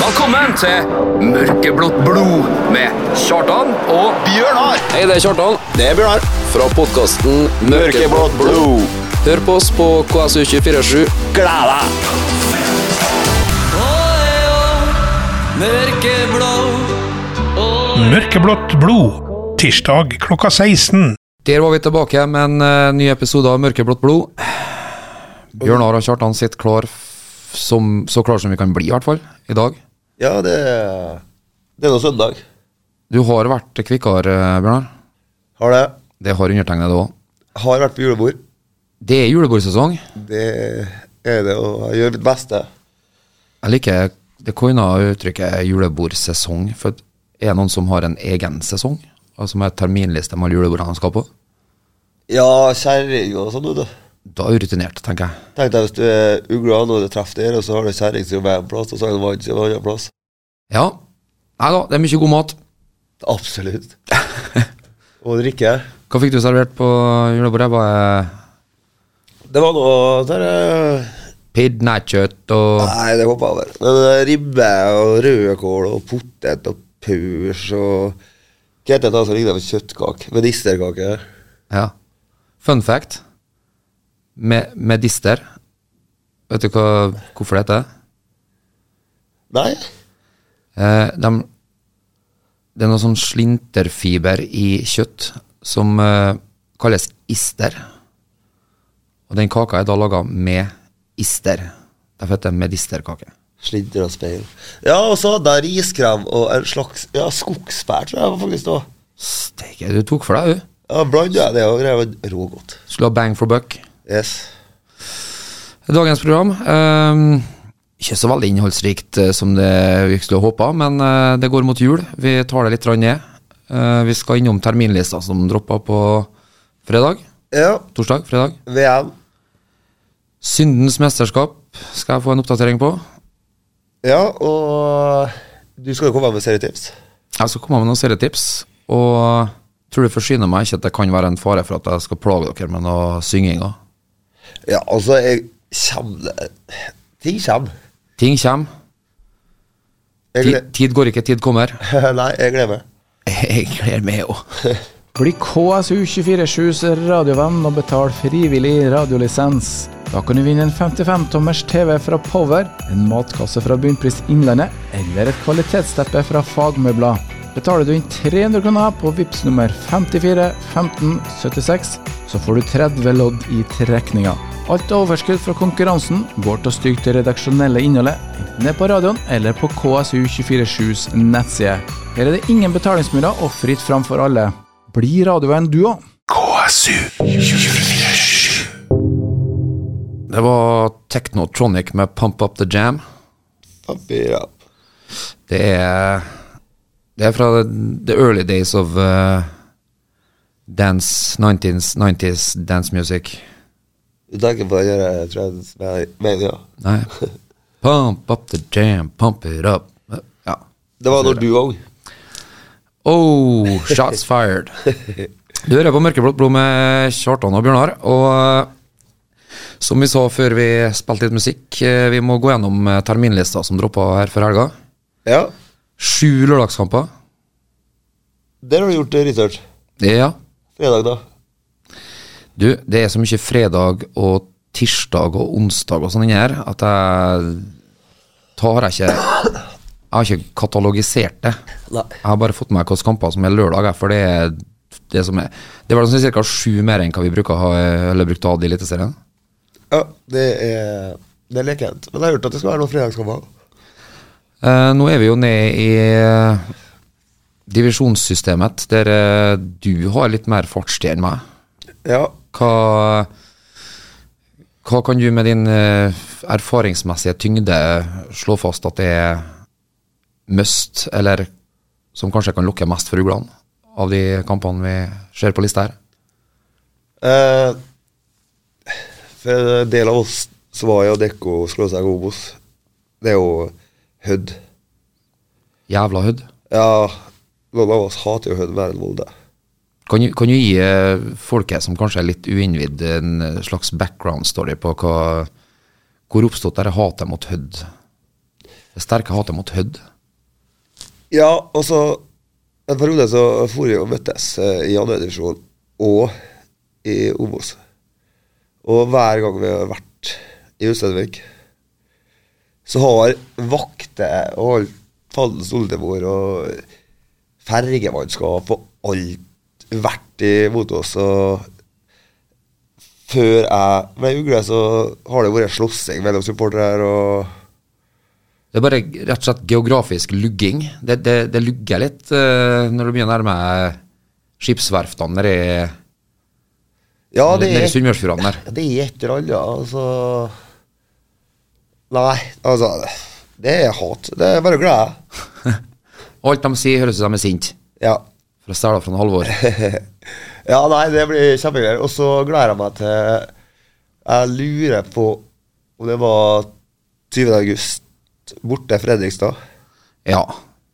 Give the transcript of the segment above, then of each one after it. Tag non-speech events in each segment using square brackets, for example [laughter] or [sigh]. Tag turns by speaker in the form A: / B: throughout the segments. A: Velkommen til Mørkeblått blod med Kjartan og
B: Bjørnar!
C: Hei, det er Kjartan.
B: Det er Bjørnar.
C: Fra podkasten
B: Mørkeblått blod.
C: Hør på oss på KSU247.
B: Gled deg!
D: Mørkeblått blod. Tirsdag klokka 16.
C: Der var vi tilbake med en eh, ny episode av Mørkeblått blod. Bjørn Ar og Kjartan sitter klar f- som, så klar som vi kan bli, i hvert fall. I dag.
B: Ja, det er Det er nå søndag.
C: Du har vært kvikkere, eh, Bjørnar.
B: Har det.
C: Det har undertegnede òg.
B: Har vært på julebord.
C: Det er julebordsesong.
B: Det er det, og jeg gjør mitt beste.
C: Jeg liker det koina uttrykket julebordsesong. For er det noen som har en egen sesong? Altså med terminliste med alle julebordene de skal på?
B: Ja, kjerring og sånn, vet du.
C: Da er du rutinert, tenker jeg.
B: Tenk deg hvis du er ugla når du treffer der, og så har du kjerring som er på en plass, og så har du en mann som er på en annen plass.
C: Ja. Nei da, det er mye god mat.
B: Absolutt. og drikke.
C: Hva fikk du servert på julebordet? Bare
B: Det var noe der eh,
C: pinnekjøtt og
B: Nei, det hoppa jeg over. Men eh, ribbe og rødkål og potet og purs og Hva heter det da som ligner på kjøttkake? Medisterkake.
C: Ja. Fun fact. Med, medister. Vet du hva, hvorfor det heter?
B: Nei?
C: Eh, dem- det er noe sånn slinterfiber i kjøtt som eh, kalles ister. Og den kaka er da laga med ister. Derfor heter det medisterkake.
B: Slidder og speil. Ja, og så hadde jeg riskrem og en slags ja, skogsbær, tror jeg det var faktisk det var.
C: Steike, du tok for deg, du.
B: Ja, Blanda jeg det og greier. det var Rågodt.
C: Skulle ha bang for buck.
B: Yes.
C: Dagens program ehm, Ikke så veldig innholdsrikt eh, som det vi skulle håpa, men eh, det går mot jul. Vi tar det litt grann ned. Eh, vi skal innom terminlista som droppa på fredag.
B: Ja,
C: Torsdag, fredag.
B: VM.
C: Syndens mesterskap skal jeg få en oppdatering på.
B: Ja, og du skal jo komme med serietips.
C: Jeg skal komme med noen serietips, og tror du forsyner meg ikke at det kan være en fare for at jeg skal plage dere med noe synging. også.
B: Ja, altså, jeg kommer Ting kommer.
C: Ting kommer.
B: Jeg
C: Tid,
B: gleder,
C: tid går ikke, tid kommer.
B: [laughs]
C: [laughs]
B: nei, jeg gleder meg.
C: Jeg gleder meg òg.
E: Bli KSU247s radiovenn og betal frivillig radiolisens. Da kan du vinne en 55-tommers TV fra Power, en matkasse fra Bunnpris Innlandet eller et kvalitetsteppe fra Fagmøbler. Betaler du inn 300 kroner på VIPS nummer 54 15 76, så får du 30 lodd i trekninga. Alt overskudd fra konkurransen går til å styrke det redaksjonelle innholdet, enten det er på radioen eller på KSU247s nettside. Her er det ingen betalingsmurer og fritt fram for alle. Bli radioveien du òg.
C: Det var Technotronic med Pump Up The Jam.
B: Papir, ja.
C: Det er Det er fra the early days of eh, dance 19s, 90s dance music.
B: Du tenker på den eh, der Transmania?
C: Nei. Pump up the jam, pump it up. Ja.
B: Det var når du var ung.
C: Oh, shots fired. Du hører på Mørkeblått blod med Kjartan og Bjørnar. Og eh, som vi sa før vi spilte litt musikk, eh, vi må gå gjennom eh, terminlista som droppa her før helga.
B: Ja.
C: Sju lørdagskamper.
B: Der har du gjort research.
C: Ja.
B: Fredag, da.
C: Du, det er så mye fredag og tirsdag og onsdag og sånn inni her at jeg tar jeg ikke Jeg har ikke katalogisert det.
B: Nei.
C: Jeg har bare fått med meg hvilke kamper som er lørdag, jeg, for det er det som er Det var sånn ca. sju mer enn hva vi bruker å ha, eller brukte å ha det i Eliteserien.
B: Ja, det er Det er lekent. Men jeg har hørt at det skal være noen fredagskamper.
C: Eh, nå er vi jo ned i eh, divisjonssystemet, der eh, du har litt mer fartstid enn meg.
B: Ja.
C: Hva, hva kan du med din eh, erfaringsmessige tyngde slå fast at det er must, eller som kanskje kan lukke mest for uglene av de kampene vi ser på lista her?
B: Eh, for en del av oss så var jo Dekko Sklåseg Obos. Det er jo Hødd.
C: Jævla hødd.
B: Ja, noen av oss hater jo Hødd mer enn Molde.
C: Kan, du- kan du gi eh, folket som kanskje er litt uinnvidd, en eh, slags background story på hva, hvor oppstått dette hatet mot Hødd Det sterke hatet mot Hødd.
B: Ja, og så en periode så for jeg og møttes eh, i andredivisjon og i Obos. Og hver gang vi har vært i Ulsteinvik, så har vakter og all fandens oldemor og fergemannskap og alt vært imot oss. Og før jeg ble ugle, så har det vært slåssing mellom supportere her. og...
C: Det er bare rett og slett geografisk lugging. Det, det, det lugger litt eh, når du begynner å nærme deg skipsverftene nede i
B: Ja,
C: Nede- nede i Sunnmørsfjordene der.
B: Det er et eller annet, altså. Nei, altså det- Det er hat. Det er bare glede.
C: Og alt de sier, høres ut som de er sinte.
B: Ja.
C: Fra stæla fra en Halvor.
B: ja, nei, det blir kjempegreier. Og så gleder jeg meg til Jeg lurer på om det var 20. august, borte Fredrikstad.
C: Ja.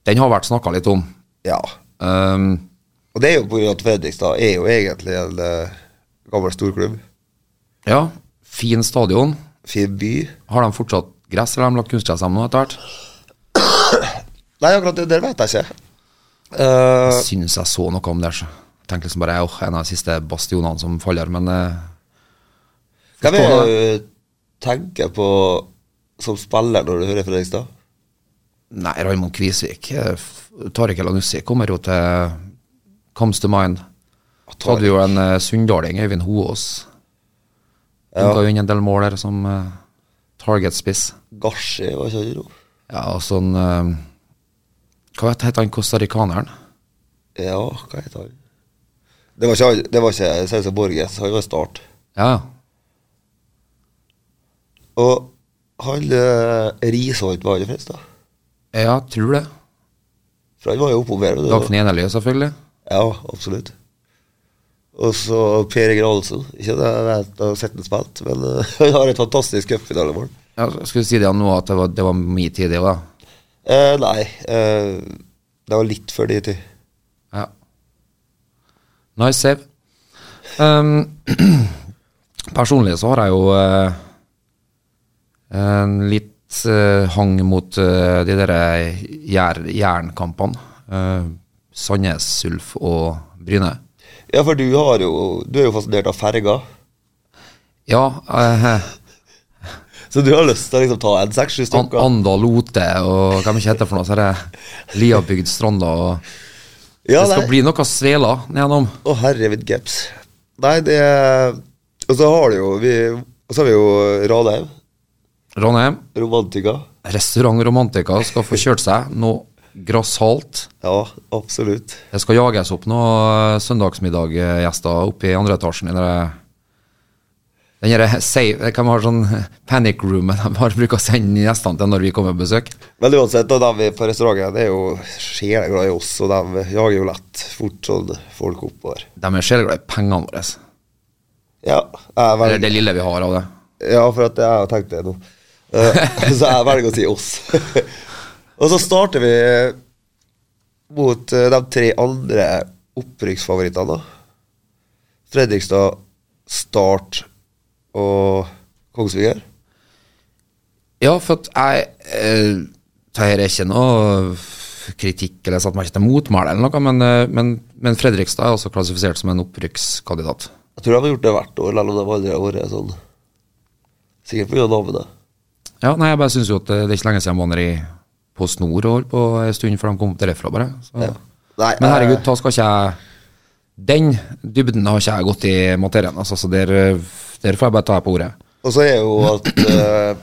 C: Den har vært snakka litt om.
B: Ja.
C: Um,
B: Og det er jo på grunn av at Fredrikstad er jo egentlig en eh, gammel storklubb.
C: ja, fin stadion.
B: Fin by.
C: Har de fortsatt gress, eller har de lagt kunstgress sammen nå etter hvert?
B: Nei, akkurat det der vet jeg ikke. Eh,
C: Syns jeg så noe om det. så Tenkte liksom bare åh, en av de siste bastionene som faller, men eh,
B: Hva
C: Forstår
B: er det du tenker eh, på som spiller når du hører Fredrikstad?
C: Nei, Raymond Kvisvik. eh, f- Tariq Elanussi kommer jo til Comes to mind. Så hadde vi jo en eh, sunndaling, Øyvind Hoås. Ja. Ga jo inn en del mål der som eh, targetspiss.
B: Gashi, var ikke det noe?
C: Ja, og sånn eh, Hva het- heter han costaricaneren?
B: Ja, hva heter han? Det var ikke, han- det var ikke Sause Borges, han var Start.
C: Ja, ja.
B: Og han eh, Risholt var han i Fredrikstad.
C: Ja, tror det.
B: For han var jo oppover. vet du.
C: Dagfinn Eneløy, selvfølgelig.
B: Ja, absolutt. Og så Per Egil Ahlsen. Ikke det jeg vet, jeg har sett ham spilt, men eh, [laughs] han har et fantastisk cupfinalemål.
C: Ja, skulle si det nå, at det var, det var min tid, det òg.
B: Eh, nei, eh, det var litt før de tid.
C: Ja. Nice save. Um, [clears throat] personlig så har jeg jo eh, en litt eh, hang mot eh, de der jær, jernkampene. Eh, Sandnes, Ulf og Bryne.
B: Ja, for du, har jo, du er jo fascinert av ferger.
C: Ja, eh,
B: Så du har lyst til å liksom ta en seks-sju
C: An
B: stykker?
C: Andal Ote og hvem ikke heter for noe, så er det Liabygd Stranda og
B: ja,
C: Det skal
B: nei.
C: bli noe svela nedgjennom.
B: Å, herre min caps. Nei, det Og så har du jo vi, Og så har vi jo Radheim.
C: Ranheim,
B: Romantika.
C: restaurant Romantica skal få kjørt seg noe grassat.
B: Ja, absolutt.
C: Det skal jages opp eh, noen søndagsmiddaggjester oppe eh, i andre etasjen. i det- Den derre save Hvem har sånn [laughs] panic room de har bruker å sende gjestene til når vi kommer på besøk?
B: Men uansett, da, de på restauranten er jo sjeleglade i oss, og de jager jo lett fort sånn folk oppover.
C: De er sjeleglade i pengene våre.
B: Ja, jeg
C: Eller det
B: velger,
C: lille vi har av det.
B: ja for at jeg har tenkt det nå. Eh, [laughs] så jeg velger å si oss. [laughs] og så starter vi mot eh, de tre andre opprykksfavorittene. da. Fredrikstad, Start og Kongsvinger.
C: Ja, for at jeg eh, Det her er ikke noe kritikk, eller jeg satte meg ikke til motmæle, eller noe, men, eh, men, men Fredrikstad er også klassifisert som en opprykkskandidat.
B: Jeg tror de har gjort det hvert år, selv om de aldri har vært sånn. Sikkert pga. navnet.
C: Ja, nei, jeg bare syns jo at eh, det, det er ikke lenge siden jeg var nede i- på Snor og holdt på en stund før de kom derfra, bare. Så.
B: Nei,
C: Men herregud,
B: eh,
C: da skal ikke jeg Den dybden har ikke jeg gått i materien, altså, så der, eh, der får jeg bare ta deg på ordet.
B: Og så er jo at eh,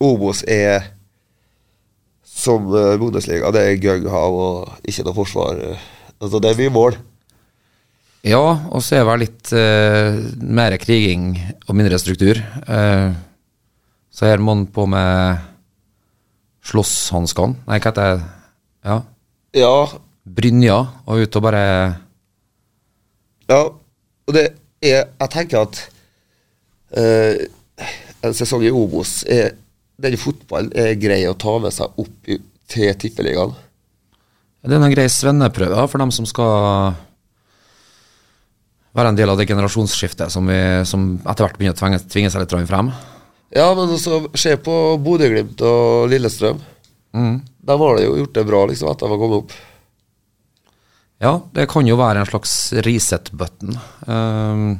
B: Obos er som eh, Bundesliga. Det er gung-hav og ikke noe forsvar. eh. Altså, det er mye mål.
C: Ja, og så er det vel litt eh, mer kriging og mindre struktur. Eh, så her må han på med slåsshanskene. Nei, hva heter det? Ja.
B: Ja,
C: Brynja, og ut og bare
B: ja. Og det er Jeg tenker at eh, en sesong i Obos er Den fotballen er grei å ta med seg opp i, til Tippeligaen.
C: Det er en sånn grei svenneprøve ja, for dem som skal være en del av det generasjonsskiftet som, vi, som etter hvert begynner å tvinge, tvinge seg litt frem.
B: altså, Ja, men også se på Bodø-Glimt og Lillestrøm. De har det jo gjort det bra liksom etter at de har kommet opp.
C: Ja, det kan jo være en slags reset-button. Ehm,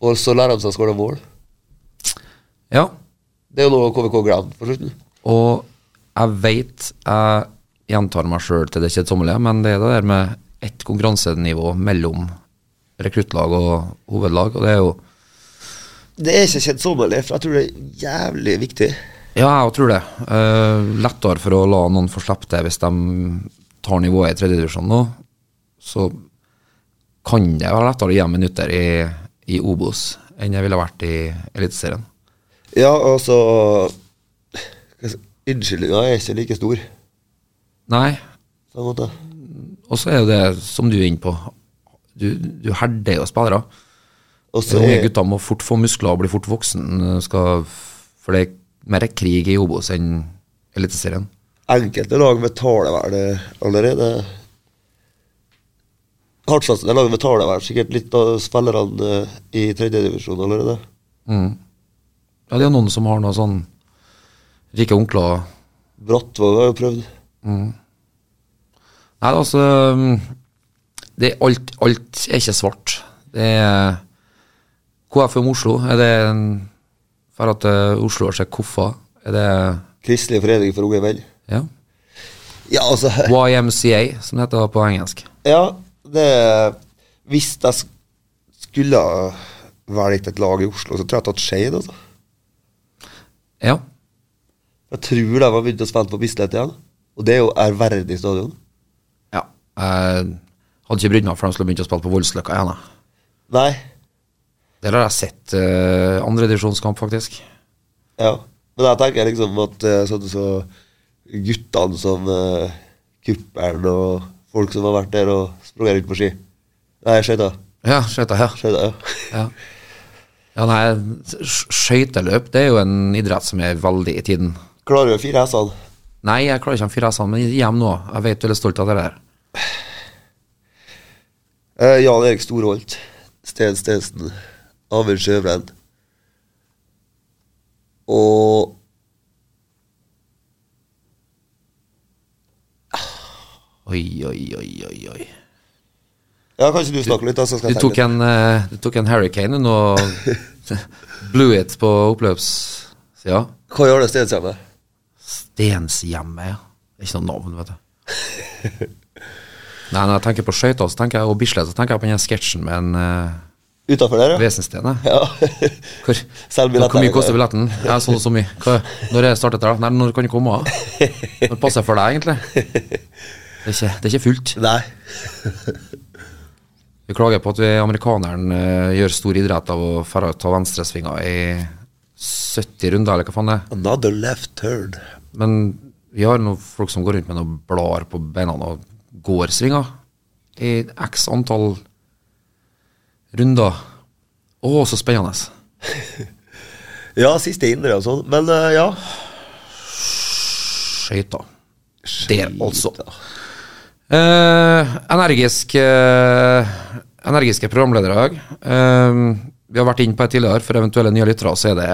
B: Og så lærer de seg å skåre mål.
C: ja.
B: Det er jo noe KVK glemte på slutten.
C: Og jeg veit jeg gjentar meg sjøl til det kjedsommelige, men det er det der med ett konkurransenivå mellom rekruttlag og hovedlag, og det er jo
B: Det er ikke kjedsommelig, for jeg tror det er jævlig viktig.
C: Ja, jeg tror det. Eh, lettere for å la noen få slippe det hvis de tar nivået i tredjedivisjon nå. Så kan det være lettere å gi dem minutter i, i Obos enn jeg ville vært i Eliteserien.
B: Ja, altså, og så Unnskyldninga er ikke like stor.
C: Nei,
B: På en måte.
C: og så er jo det som du er inne på. Du, du herder jo spillere.
B: Og
C: De
B: så
C: unge
B: er,
C: gutta må fort få muskler og bli fort voksen. eh, Skal, for det er mer krig i Obos enn Eliteserien.
B: enkelte lag betaler vel eh, allerede Hardtsatsende lag betaler vel sikkert litt av spillerne eh, i tredjedivisjon allerede.
C: Mm. Ja, det er noen som har noe sånn rike onkler
B: Brattvåg har jo prøvd.
C: Nei, altså det, er alt, alt er ikke svart. Det er KFUM Oslo. Er det en For at eh, Oslo har sett koffer? Er det
B: Kristelig forening for unge menn.
C: ja.
B: Ja, altså
C: YMCA, som det heter på engelsk.
B: Ja, det Hvis jeg sk- skulle valgt et lag i Oslo, så tror jeg jeg hadde tatt Skeid, altså.
C: Ja.
B: Jeg tror de har begynt å spille på Bislett igjen. Og det er jo ærverdig stadion.
C: ja. Jeg hadde ikke brydd meg for de skulle begynt å spille på Voldsløkka igjen. jeg.
B: Nei.
C: Der har jeg sett eh, andredivisjonskamp, faktisk.
B: Ja. Men jeg tenker liksom at eh, sånn så guttene som eh, Kuppelen og folk som har vært der og sprunget rundt på ski Nei, skøyta.
C: Ja, skøyta, ja.
B: Skøyta, ja. [laughs]
C: Ja. ja, nei, sk- skøyteløp det er jo en idrett som er veldig i tiden.
B: Klarer jo fire hestene.
C: Nei, jeg klarer ikke de fire S-ene, men gi dem nå. Jeg vet du er litt stolt av det der.
B: Eh, Jan Erik Storholt. Sten Stensen. Amund Sjøbrenn. Og
C: Oi, oi, oi, oi, oi.
B: Ja, kanskje du snakker litt, da, så skal
C: Du
B: jeg
C: tok
B: tenke.
C: en, eh, du tok en hurricane nå [laughs] og blew it på oppløpssida.
B: Hva gjør det Stenshjemmet?
C: Stenshjemmet, ja. Det er ikke noe navn, vet du. [laughs] Nei, når jeg tenker på skøyter så tenker jeg- og Bislett, så tenker jeg på den her sketsjen med en uh,
B: Utafor der, ja?
C: vesensten. jeg.
B: [laughs] ja.
C: Hvor,
B: Selg
C: hvor
B: billetter,
C: hvor mye
B: jeg
C: koster
B: vet.
C: billetten? Ja, sånn og så mye. Hva, når er startet det? Nei, når kan du komme? [laughs] da? Når passer det for deg, egentlig? [laughs] Det er ikke, det er ikke fullt.
B: Nei.
C: Vi klager på at vi amerikaneren eh, gjør stor idrett av å færre ta venstresvinga i 70 runder, eller hva faen det er.
B: Another left turn.
C: Men vi har noen folk som går rundt med noen blader på beina og går svinger i x antall runder. Å, så spennende.
B: Ja, siste indre og sånn. Men eh, ja.
C: Skøyter. Der, altså.
B: Skit, da.
C: Eh, energisk, eh, energiske programledere i dag. Eh, vi har vært inne på det tidligere. For eventuelle nye lyttere så er det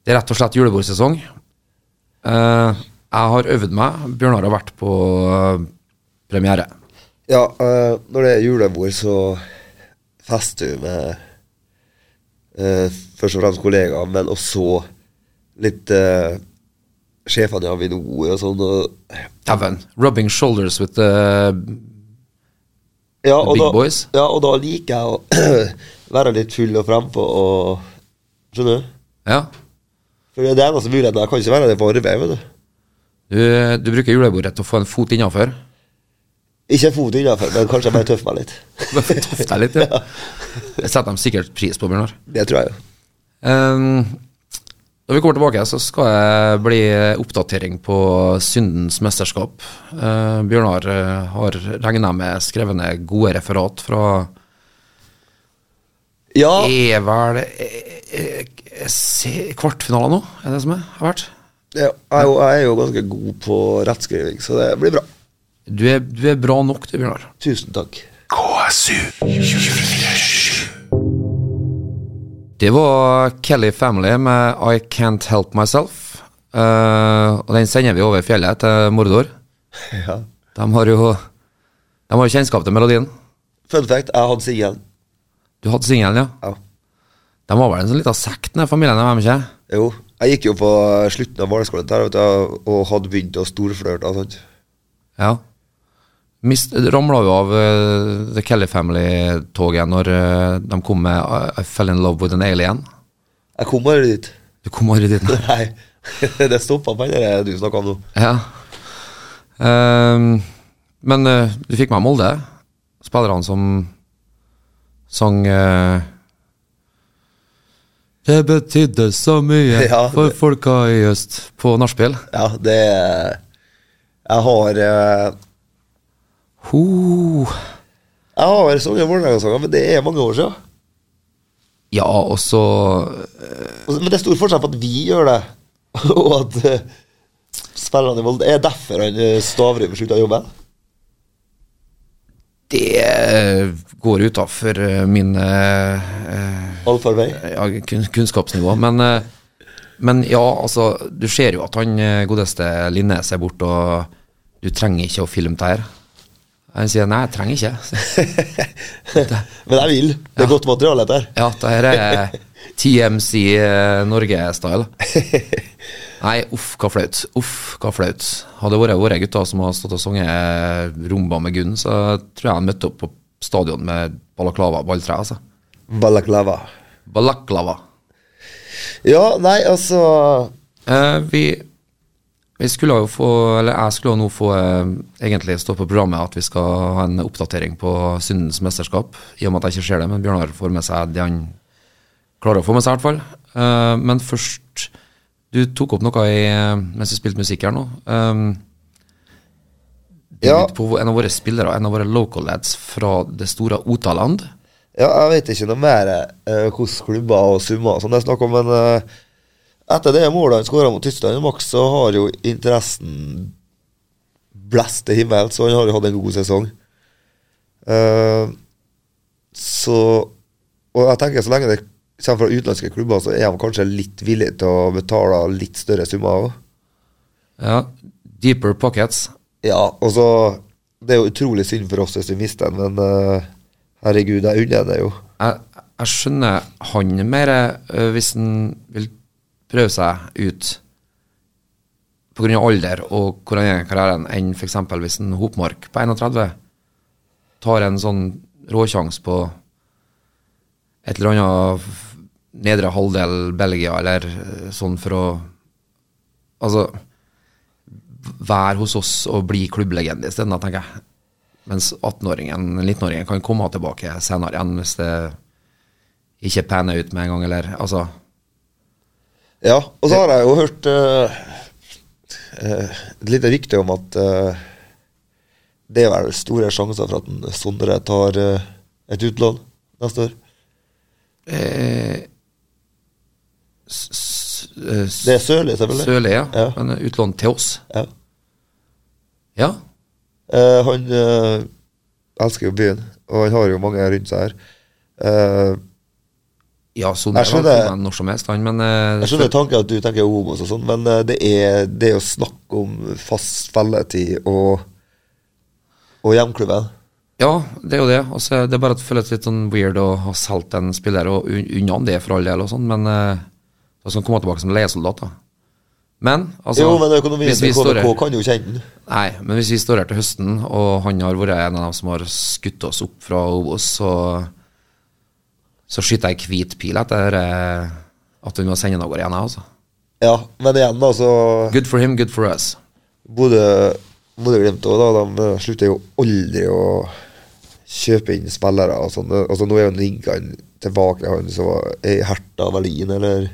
C: Det er rett og slett julebordsesong. Eh, jeg har øvd meg. Bjørnar har vært på eh, premiere.
B: Ja, eh, når det er julebord, så fester vi med eh, først og fremst kollegaer, men også litt eh, sjefene i Avinor og sånn. Og,
C: Dæven. Rubbing shoulders with the
B: ja,
C: The
B: og
C: big
B: da,
C: boys?
B: Ja, og da liker jeg å [clears throat] være litt full og frempå og Skjønner du?
C: Ja.
B: For det er den eneste muligheten. Jeg kan ikke være det på arbeid, vet du.
C: Du, du bruker julebordet til å få en fot innafor.
B: Ikke en fot innafor, men kanskje jeg bare tøffer meg litt.
C: Tøff deg litt. Ja. Det setter de sikkert pris på, Bjørnar.
B: [laughs] Det tror jeg jo.
C: Um, når vi kommer tilbake, så skal jeg bli oppdatering på syndens mesterskap. Eh, Bjørnar eh, har regna med skrevne gode referat fra
B: Ja,
C: Er vel eh, eh, eh, se- kvartfinalen nå, er det som er, har vært?
B: jeg, er jo, jeg er jo ganske god på rettskriving, så det blir bra.
C: Du er, du er bra nok, du, Bjørnar.
B: Tusen takk.
C: Det var Kelly Family med I Can't Help Myself. Eh, og den sender vi over fjellet til Mordor.
B: [laughs] Ja.
C: De har jo De har jo kjennskap til melodien.
B: Fun fact, jeg hadde singelen.
C: Du hadde singelen, ja.
B: Ja.
C: De var vel en sånn liten sekt, den familien de var med seg.
B: Jo. Jeg gikk jo på slutten av barneskolen der, vet du, og hadde begynt å storflørte altså. og sånt.
C: Ja. Mist, ramla jo av eh, The Kelly Family-toget når eh, de kom med eh, I, I Fell In Love With An Alien.
B: Jeg kom bare dit. [laughs]
C: Du kom aldri dit, nei.
B: Nei, [laughs] det stoppa meg, det der du snakka om nå.
C: Ja. Ehm, men eh, du fikk med Molde. Spillerne som sang eh, Det betydde så mye
B: Ja, det-
C: for folka i øst på nachspiel.
B: Ja, det Jeg har eh,
C: Ho.
B: Jeg har sunget Vålerenga-sanger, men det er mange år siden.
C: Ja, og så
B: Og- Men det er stor forskjell på at vi gjør det, [laughs] og at eh, spillerne i Molde Er derfor han eh, Stavrum slutta å jobbe?
C: Det eh, går utafor min eh,
B: Allfarvei?
C: [laughs] ja, kun, kunnskapsnivå. Men, eh, men ja, altså, du ser jo at han eh, godeste Linnes er borte, og du trenger ikke å filme det her. Han sier nei, jeg trenger ikke. [laughs]
B: Men jeg vil. Det er godt materiale der.
C: Ja, det her er TMC eh, Norge-style. Nei, uff, hva flaut. Uff, hva flaut. Hadde det vært våre gutter som hadde stått og sunget eh, rumba med Gunn, så tror jeg han møtte opp på stadion med balaklava og balltre. Altså.
B: Balaklava.
C: Balaklava.
B: Ja, nei, altså
C: Eh, vi, vi skulle jo få, eller jeg skulle jo nå få eh, egentlig stå på programmet at vi skal ha en oppdatering på Sundens mesterskap, i og med at jeg ikke ser det, men Bjørnar får med seg det han klarer å få med seg i hvert fall. Eh, men først, du tok opp noe i, eh, mens du spilte musikk her nå. Eh,
B: Ja.
C: ut På en av våre spillere, en av våre local lads fra det store Otaland.
B: Ja, jeg vet ikke noe mer eh, hvordan klubber og summer og sånn det er snakk om, men eh, etter det målet han skåra mot Tyskland i maks, så har jo interessen blæst til himmels, så han har jo hatt en god sesong. Eh, så Og jeg tenker så lenge det kommer fra utenlandske klubber, så er de kanskje litt villige til å betale litt større summer òg.
C: Ja, Deeper Pockets.
B: Ja, og så Det er jo utrolig synd for oss hvis vi mister den, men eh, herregud, jeg unner det jo.
C: jeg, jeg skjønner han mer ø, hvis han vil prøve seg ut pga. alder og hvor han er i karrieren, enn f.eks. hvis en Hopmark på 31 tar en sånn råsjanse på et eller annet f- nedre halvdel Belgia, eller ø, sånn for å Altså Være hos oss og bli klubblegende isteden, da, tenker jeg. Mens 18-åringen, 19-åringen kan komme tilbake senere igjen hvis det ikke panner ut med en gang, eller altså
B: Ja, og så har jeg jo hørt eh, eh, et lite rykte om at eh, det er vel store sjanser for at en Sondre tar eh, et utlån neste år.
C: eh, s- s- eh, s-
B: Det er Sørli, selvfølgelig.
C: Sørli, ja.
B: Ja.
C: Men eh, utlånt til oss.
B: Ja.
C: Ja.
B: Eh, han eh, elsker jo byen, og han har jo mange rundt seg her. Eh,
C: Ja, Sondre
B: Jeg
C: kan
B: skjønner-
C: komme når som helst, han, men eh,
B: jeg skjønner tanken at du tenker homos og sånn, men eh, det, er, det er jo snakk om fast felletid og, og hjemklubben.
C: Ja, det er jo det. Og så er det bare at det føles litt sånn weird å ha solgt en spiller, og un- unna det for all del, og sånn, men eh, da skal han komme tilbake som leiesoldat, da. Men altså
B: jo, men økonomien
C: hvis vi
B: til KVK
C: står-
B: kan jo kjenne den.
C: Nei, men hvis vi står her til høsten, og han har vært en av dem som har skutt oss opp fra Obos, så, så skyter jeg hvit pil etter eh, at vi må sende han av gårde igjen, jeg, altså.
B: Ja, men igjen, da, så
C: Good for him, good for us.
B: Bodø Bodø Glimt også, da, de eh, slutter jo aldri å kjøpe inn spillere. og sånn. Altså, nå er jo Ningan tilbake, han som var i Herta Berlin, eller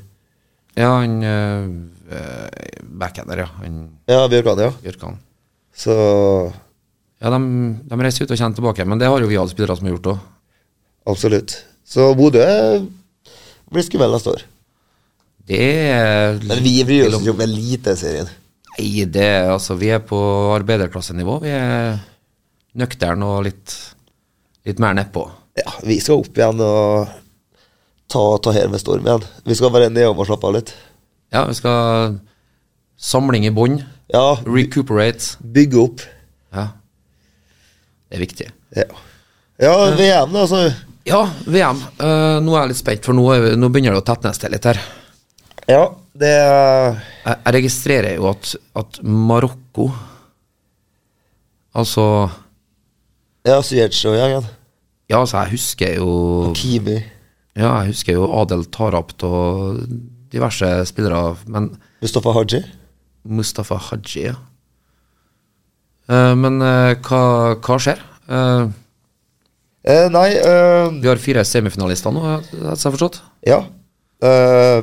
C: Ja, han eh, eh, backhander, ja. Han
B: Ja, Bjørkan, ja.
C: Bjørkan.
B: Så
C: Ja, de, de reiser ut og kommer tilbake, men det har jo vi alle spillere som har gjort òg.
B: absolutt. Så Bodø blir skummel neste år.
C: Det er
B: Men vi bryr oss ikke om Eliteserien.
C: Nei, det er altså Vi er på arbeiderklassenivå. Vi er nøkterne og litt, litt mer nedpå.
B: Ja, vi skal opp igjen og ta, ta her med storm igjen. Vi skal være nedom og slappe av litt.
C: Ja, vi skal Samling i bånn.
B: Ja,
C: Recuperate.
B: bygge opp.
C: Ja. Det er viktig.
B: Ja, ja VM, da, altså.
C: Ja, VM. Eh, nå er jeg litt spent, for nå, er vi, nå begynner det å tetnes til litt her.
B: Ja, det er
C: Jeg, jeg registrerer jo at, at Marokko Altså
B: Ja, Syertsen og gjengen.
C: Ja, altså, jeg husker jo
B: Kimi.
C: Ja, jeg husker jo Adel Tarapt og diverse spillere, men
B: Mustafa Haji.
C: Mustafa Haji, ja. Eh, men eh, hva, hva skjer? Eh,
B: Eh, nei eh,
C: vi har fire semifinalister nå, har jeg forstått?
B: Ja. Eh,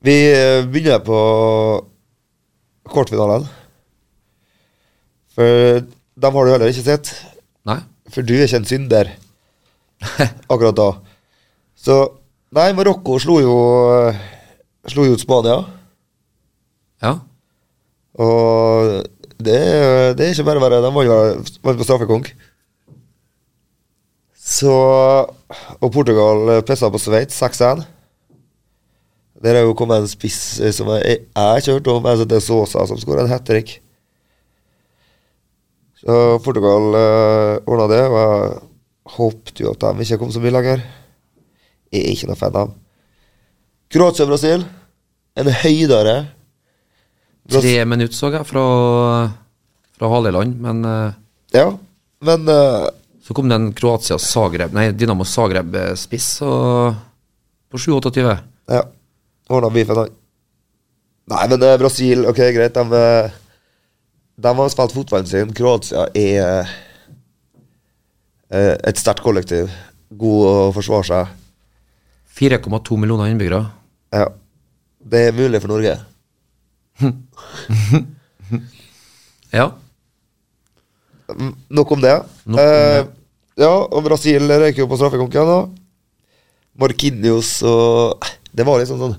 B: vi eh, begynner på kvartfinalen. For dem har du heller ikke sett,
C: Nei?
B: for du er ikke en synder akkurat da. Så Nei, Marokko slo jo eh, Slo jo ut Spania,
C: Ja?
B: og det, er- det er ikke bare verre. De vant jo- vant på straffekonk. Så Og Portugal pressa på Sveits 6-1. Der er jo kommet en spiss eh, som jeg, jeg har ikke hørt om, altså det er Sosa som skåra en hat trick. Så Portugal uh, ordna det, og jeg håpte jo at de ikke kom så mye lenger. Jeg er ikke noe fan av dem. Kroatia-Brasil, en høydere
C: Tre minutter, så jeg, fra, fra Haleland, men eh,
B: Ja, men eh,
C: Så kom det en Kroatia Zagreb, nei Dynamo Zagreb-spiss på 7-28.
B: Ja. Ordna beefen, han. Nei, men eh, Brasil, ok, greit. De, eh, de har spilt fotballen sin. Kroatia er eh, et sterkt kollektiv. God å forsvare seg.
C: 4,2 millioner innbyggere.
B: Ja. Det er mulig for Norge.
C: Ja.
B: Mm, Nok om det.
C: Nok om det.
B: Eh, ja, og Brasil røyker jo på straffekonken. da. Markinios og Det var liksom sånn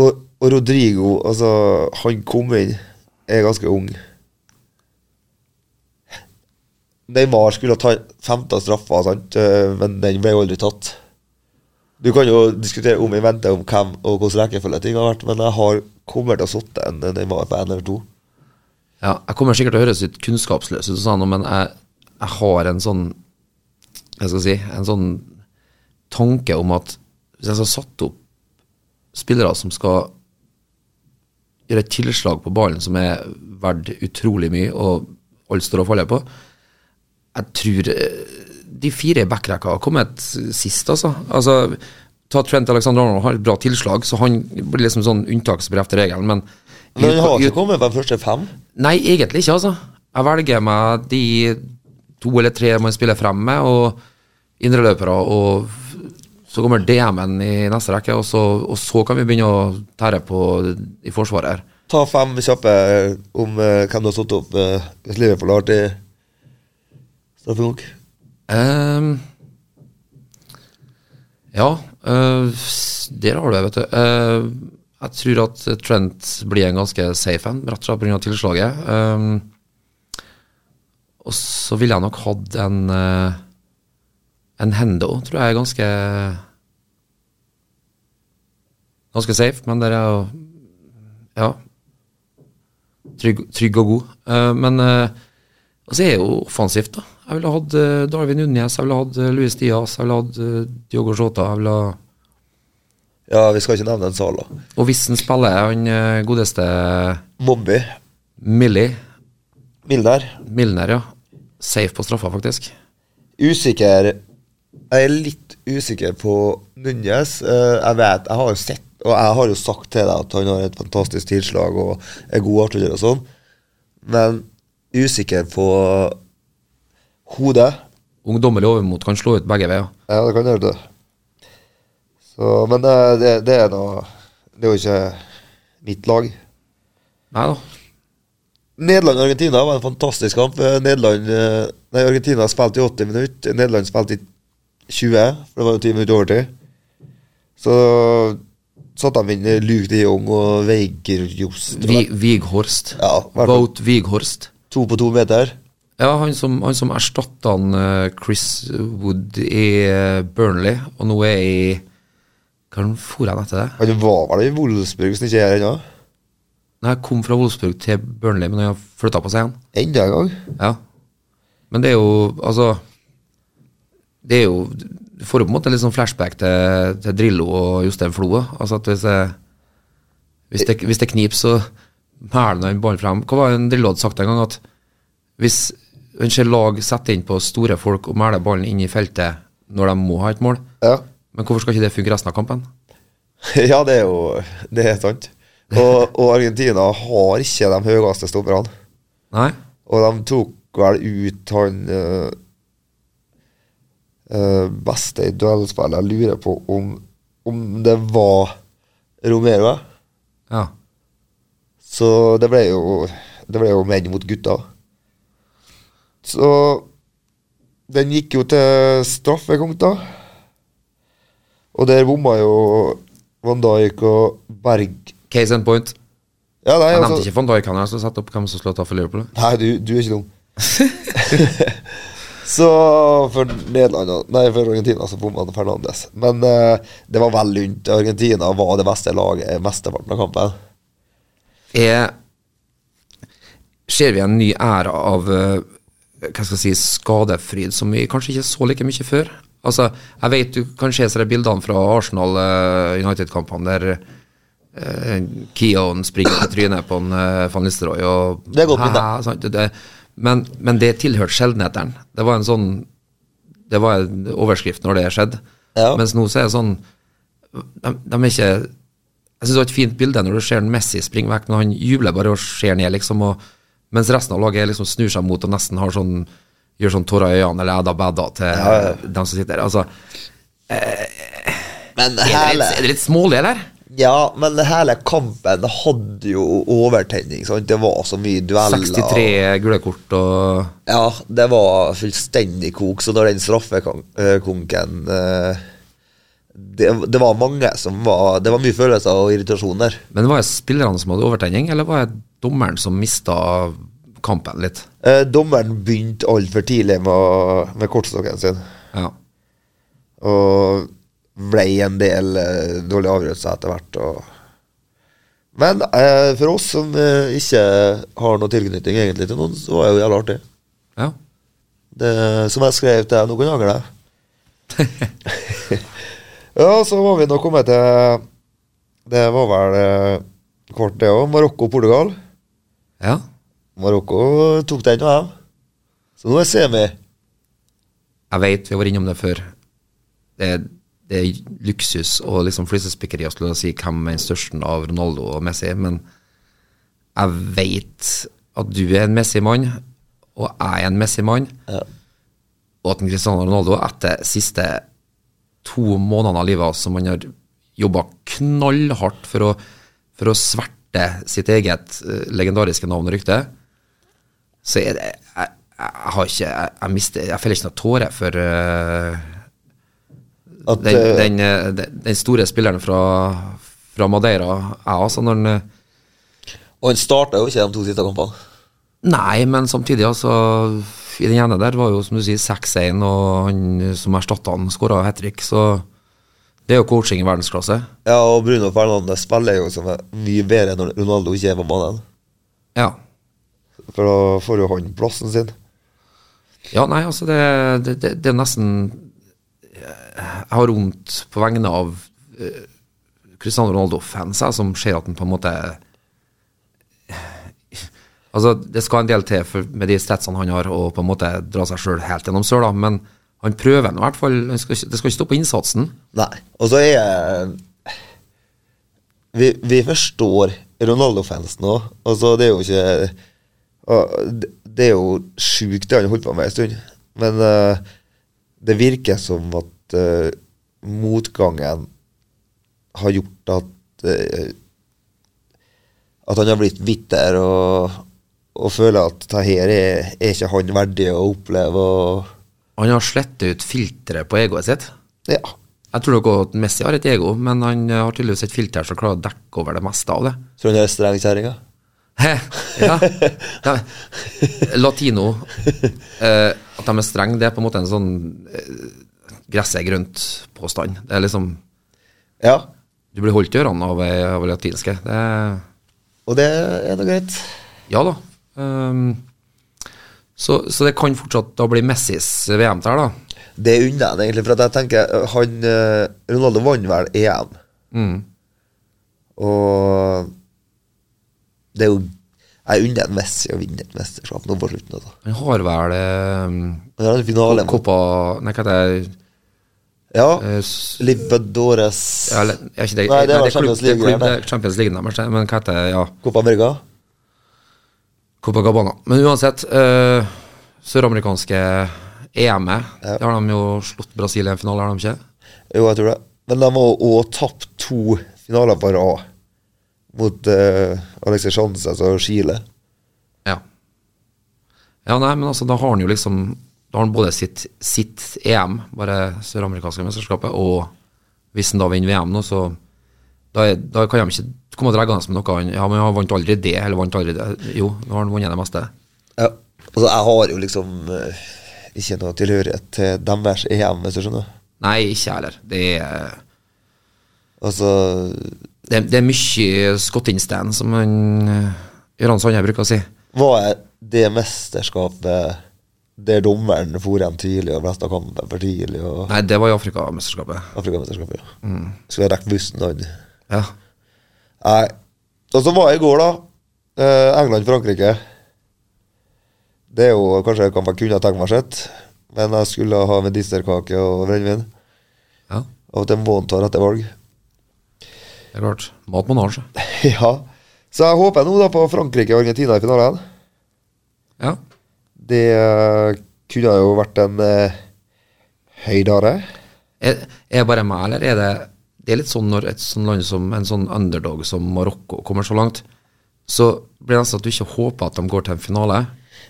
B: Og, og Rodrigo, altså Han kom inn, er ganske ung. Neymar skulle ta femte straffa, sant? eh, men den ble jo aldri tatt. Du kan jo diskutere om vi venter om hvem og hvordan rekkefølge ting har vært, men jeg har kommer til å sitte en Neymar på én eller to.
C: ja. Jeg kommer sikkert til å høres litt kunnskapsløs ut, sånn, men jeg, jeg har en sånn Jeg skal si en sånn tanke om at hvis jeg skal satt opp spillere som skal gjøre et tilslag på ballen som er verdt utrolig mye, og alt står og faller på Jeg tror eh, de fire i backrekka har kommet sist, altså. altså ta Trent Alexander Arnold har et bra tilslag, så han blir liksom sånn unntaksbrev til regelen, men
B: Men han har
C: i-
B: ikke kommet på de første fem.
C: Nei, egentlig ikke, altså. Jeg velger meg de to eller tre man spiller frem med, og indreløpere, og f- så kommer DM-en i neste rekke, og så, og så kan vi begynne å tære på i forsvaret her.
B: Ta fem kjappe om eh, hvem du har stått opp eh, hvis Liverpool har vært i straffekonk.
C: Ehm, ja, eh, s- der har du det, vet du. Ehm, jeg tror at Trent blir en ganske safe en, rett og slett pga. tilslaget. Ehm, og så ville jeg nok hatt en eh, En Hendo, tror jeg er ganske Ganske safe, men der er jo Ja. Trygg, trygg og god. Eh, men eh, Altså, jeg er jo offensivt, da. Jeg ville hatt eh, Darwin Unnes, jeg ville hatt eh, Luis Diaz, jeg ville hatt eh, Diogo Jota. Jeg ville ha...
B: Ja, vi skal ikke nevne en Sala.
C: Og hvis han spiller, han eh, godeste
B: Mobby.
C: Millie
B: Milner.
C: Milner, ja. Safe på straffa, faktisk.
B: Usikker Jeg er litt usikker på Nunes. Eh, jeg vet, jeg har jo sett og jeg har jo sagt til deg at han har et fantastisk tilslag og er god artilleri og sånn, men usikker på hodet.
C: Ungdommelig overmot kan slå ut begge veier.
B: Ja, det kan gjøre det. Så, men det, det, det er noe Det er jo ikke mitt lag.
C: Nei da.
B: Nederland og Argentina var en fantastisk kamp. Eh, Nederland, eh, nei, Argentina spilte i 80 minutter. Nederland spilte i 20, for det var jo 10 minutter overtid. Så satte de inn eh, Luke de Jong og Veiger Jost.
C: Vi, Vighorst.
B: Ja, i hvert fall.
C: Vote Vighorst.
B: To på to meter.
C: Ja, han som, han som erstatta han, eh, Chris Wood i eh, Burnley, og nå er i Hva for han etter det?
B: Han var vel i Wolfsburg, hvis han ikke er her ennå?
C: Når jeg kom fra Wolfsburg til Burnley, men han har flytta på seg igjen.
B: Enda en gang.
C: Ja. Men det er jo, altså Det er jo Du får jo på en måte litt sånn flashback til, til Drillo og Jostein Flo. Altså at hvis, jeg, hvis, det, hvis det kniper, så mæler han ballen frem. Hva var det en Drillo hadde sagt en gang? At hvis en ser lag setter inn på store folk og mæler ballen inn i feltet når de må ha et mål,
B: Ja.
C: men hvorfor skal ikke det funke resten av kampen?
B: [laughs] ja, det er jo Det er sant. Og, og Argentina har ikke de høyeste stopperne.
C: Nei?
B: Og de tok vel ut han eh, eh, beste i duellspillet. Jeg lurer på om, om det var Romero. ja.
C: Ja.
B: Så det ble jo Det ble jo menn mot gutter. Så den gikk jo til straffekonk, da. Og der bomma jo Van Dijk og Berg
C: Case and point.
B: Ja, nei,
C: Jeg nevnte
B: altså
C: ikke van Dijk, han har satt opp hvem som slår av for Liverpool.
B: Nei, du, du er ikke dum. [laughs] så for Nederland og- Nei, for Argentina så bomma han Fernandes. Men eh, det var vel lunt. Argentina var det beste laget eh, mesteparten av kampen.
C: er Ser vi en ny æra av eh, hva skal jeg si, skadefryd som vi kanskje ikke så like mye før? Altså, Jeg vet du kan se seg de bildene fra Arsenal-United-kampene der eh, Keon springer på trynet på en, eh, van Listeroy og
B: Det er godt bilde.
C: Hæ, sant? Det- men, men det tilhørte sjeldenhetene. Det var en sånn Det var en overskrift når det skjedde.
B: Ja.
C: Mens nå så er det sånn de, de er ikke Jeg syns det var et fint bilde når du ser en Messi springe vekk, men han jubler bare og ser ned, liksom, og, mens resten av laget liksom snur seg mot og nesten har sånn gjør sånn tårer i øynene eller æda bæda til dem som sitter der. Altså,
B: Men
C: er, det litt, er det litt smålig, eller?
B: Ja, men hele kampen hadde jo overtenning. Sant? Det var så mye dueller.
C: 63 gule kort og
B: Ja, det var fullstendig kok. Så når den straffekonken eh, det, det var mange som var Det var mye følelser og irritasjon der.
C: Men var det spillerne som hadde overtenning, eller var det dommeren som mista kampen litt?
B: Eh, dommeren begynte altfor tidlig med, å- med kortstokken sin.
C: Ja.
B: Og ble en del eh, dårlige avgjørelser etter hvert. Og... Men eh, for oss som eh, ikke har noe tilknytning egentlig til noen, så var det jo jævla artig.
C: ja.
B: Det, som jeg skrev til deg, nå kan jeg angre deg. ja, så var vi nå kommet til Det var vel eh, kort, det òg. Marokko-Portugal.
C: ja.
B: Marokko tok den og dem. Så nå er semi.
C: Jeg vet, vi har vært innom det før. Det, er- det er luksus og liksom flisespikkeri å skulle si hvem er den største av Ronaldo og Messi, men jeg vet at du er en Messi-mann, og jeg er en Messi-mann, og at en Cristiano Ronaldo etter siste to månedene av livet som han har jobba knallhardt for å, for å sverte sitt eget eh, legendariske navn og rykte, så er det Jeg, jeg har ikke Jeg, jeg, mister, jeg feller ikke noen tårer for eh,
B: At,
C: den,
B: eh,
C: den, eh, den, den store spilleren fra, fra Madeira. Jeg, altså, når han eh,
B: og han starta jo ikke de to siste kampene.
C: Nei, men samtidig, altså I den ene der var jo, som du sier, 6-1, og han som erstatta han, skåra hat trick, så det er jo coaching i verdensklasse.
B: Ja, og Bruno Fernandez spiller jo som er mye bedre når Ronaldo ikke er på banen.
C: Ja.
B: For da får jo han plassen sin.
C: Ja, nei, altså det, det, det, det er nesten Jeg har vondt på vegne av eh, Cristiano Ronaldo-fans jeg, som ser at han på en måte Altså, det skal en del til for, med de statsene han har, å på en måte dra seg sjøl helt gjennom søla, men han prøver nå i hvert fall. Han skal ikke, det skal ikke stå på innsatsen.
B: Nei. Og så er Vi, vi forstår Ronaldo-fansen òg. Altså, det er jo ikke og det- Det er jo sjukt, det han har holdt på med en stund. Men eh, det virker som at eh, motgangen har gjort at eh, At han har blitt bitter og, og føler at det her er, er ikke han verdig å oppleve. Og,
C: Han har slettet ut filteret på egoet sitt.
B: ja.
C: Jeg tror nok også at Messi har et ego, men han har tydeligvis et filter som klarer å dekke over det meste av det.
B: Tror du han er streng kjerring? da?
C: Hæ? Ja. ja. Latino. Eh, at de er strenge, det er på en måte en sånn eh, gresset er grønt-påstand. Det er liksom
B: Ja.
C: Du blir holdt i ørene av ei av ei latinske. Det er
B: Og det er da greit.
C: Ja da. Ehm, så, så det kan fortsatt da bli Messis VM der, da.
B: Det unner jeg ham egentlig, for at jeg tenker øh, han øh, Ronaldo vant vel EM.
C: Mm.
B: Og det er jo Jeg unner en Messi å vinne et mesterskap nå på slutten. Altså.
C: Han har vel um,
B: Han har en finale. mot-
C: Copa Nei, hva heter det?
B: Ja.
C: Eh, s-
B: Libertadores
C: ja, eller- er ikke det,
B: Nei, det var
C: er klubb-
B: Champions League,
C: det er klubb-
B: det.
C: det er Champions League, nærmest, men hva heter det? Ja.
B: Copa America.
C: Copacabana. Men uansett, eh, søramerikanske EM-et, der har de jo slått Brasil i en finale, har de ikke?
B: Jo, jeg tror det. Men de har òg tapt to finaler på rad mot uh, Alexis Sanchez og Chile.
C: Ja. Ja, nei, men altså, da har han jo liksom Da har han både sitt, sitt EM, bare søramerikanske mesterskapet, og hvis han da vinner VM nå, så da, er, da kan de ikke komme og dra med noe han Ja, men han vant aldri det, eller vant aldri det. Jo, nå har han vunnet det meste.
B: Ja. Altså, jeg har jo liksom eh, ikke noe tilhørighet til deres EM, hvis du skjønner.
C: Nei, ikke jeg heller. Det er
B: Altså
C: det, er- det er mye Scottinstein, som han Jøran Sandøy bruker å si.
B: Var jeg det mesterskapet der dommeren for hjem tidlig og mest av kampen for tidlig og
C: Nei, det var i Afrikamesterskapet.
B: Afrikamesterskapet, ja. Skulle jeg rekke bussen han
C: Ja.
B: Nei. Og så var jeg i går, da. Eh, England-Frankrike. Det er jo kanskje jeg kan være kunne tenkt meg sett, men jeg skulle ha medisterkake og brennevin.
C: ja.
B: Og til måneden tar etter valg.
C: Det er klart. Mat må altså. nage.
B: [laughs] ja. Så jeg håper nå da på Frankrike og Argentina i finalen.
C: Ja.
B: Det eh, kunne jo vært en eh, høydare.
C: Er, er det bare meg, eller er det Det er litt sånn når et sånn land som en sånn underdog som Marokko kommer så langt, så blir det nesten at du ikke håper at de går til en finale.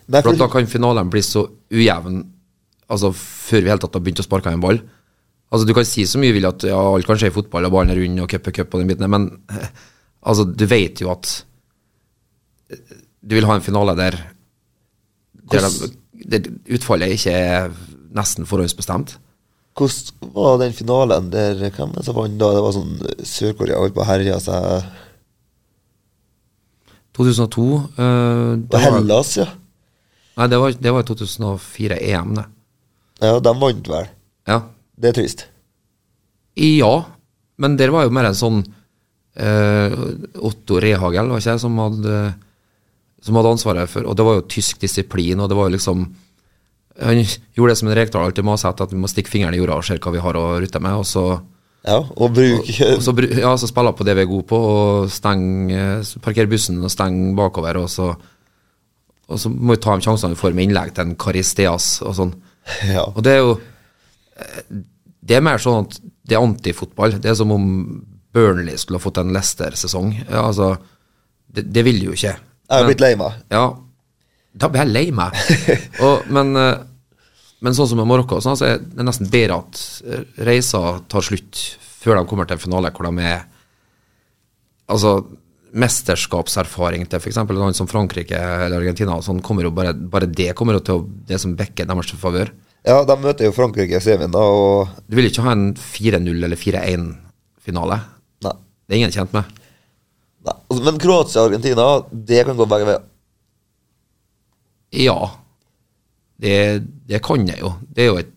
B: Nei,
C: for
B: for-
C: at da kan finalen bli så ujevn altså før vi i hele tatt har begynt å sparke en ball. Altså Du kan si så mye vi vil at ja, alt kan skje i fotball, og ballen er rund, og cup er cup, og den biten der, men [laughs] eh, altså, du vet jo at eh, du vil ha en finale der, der, de, der utfallet ikke er nesten forhåndsbestemt.
B: Hvordan var den finalen der Hvem er det som vant da? Det var sånn Sør-Korea holdt på å herje seg.
C: 2002 eh, det
B: Og
C: var,
B: Hellas, ja.
C: Nei, det var, det var 2004 EM, det.
B: Ja, De vant vel.
C: eh. Ja.
B: Det er trist.
C: I- ja, men der var jo mer en sånn eh, Otto Rehagel, var ikke jeg, som hadde, som hadde ansvaret for Og det var jo tysk disiplin, og det var jo liksom Han gjorde det som en Rekdal alltid maser etter, at vi må stikke fingeren i jorda og se hva vi har å rutte med, og så
B: Ja, og bruke
C: Og så, bru- ja, så spiller på det vi er gode på, og steng, eh, så parkerer bussen og stenger bakover. Og så, og så må vi ta de sjansene vi får med innlegg til en Karisteas og sånn.
B: [laughs] Ja.
C: Og det er jo eh, Det er mer sånn at det er antifotball. Det er som om Burnley skulle ha fått en Leicester-sesong. Ja, altså, det, det vil de jo ikke.
B: Jeg er blitt lei meg.
C: Ja, da blir jeg lei meg. Og, men, eh, men sånn som med Marokko, og sånn, så er det nesten bedre at eh, reiser tar slutt før de kommer til en finale hvor de er Altså, mesterskapserfaring til f.eks. land som Frankrike eller Argentina, og sånn, kommer jo bare, bare det kommer jo til å, det som bekker deres favør.
B: Ja, de møter jo Frankrike i semien, da, og
C: Du vil ikke ha en 4-0 eller 4-1-finale.
B: Nei.
C: Det er ingen tjent med.
B: nei. Altså, Men Kroatia og Argentina, det kan gå begge veier.
C: Ja, det, det kan jeg jo. Det er jo et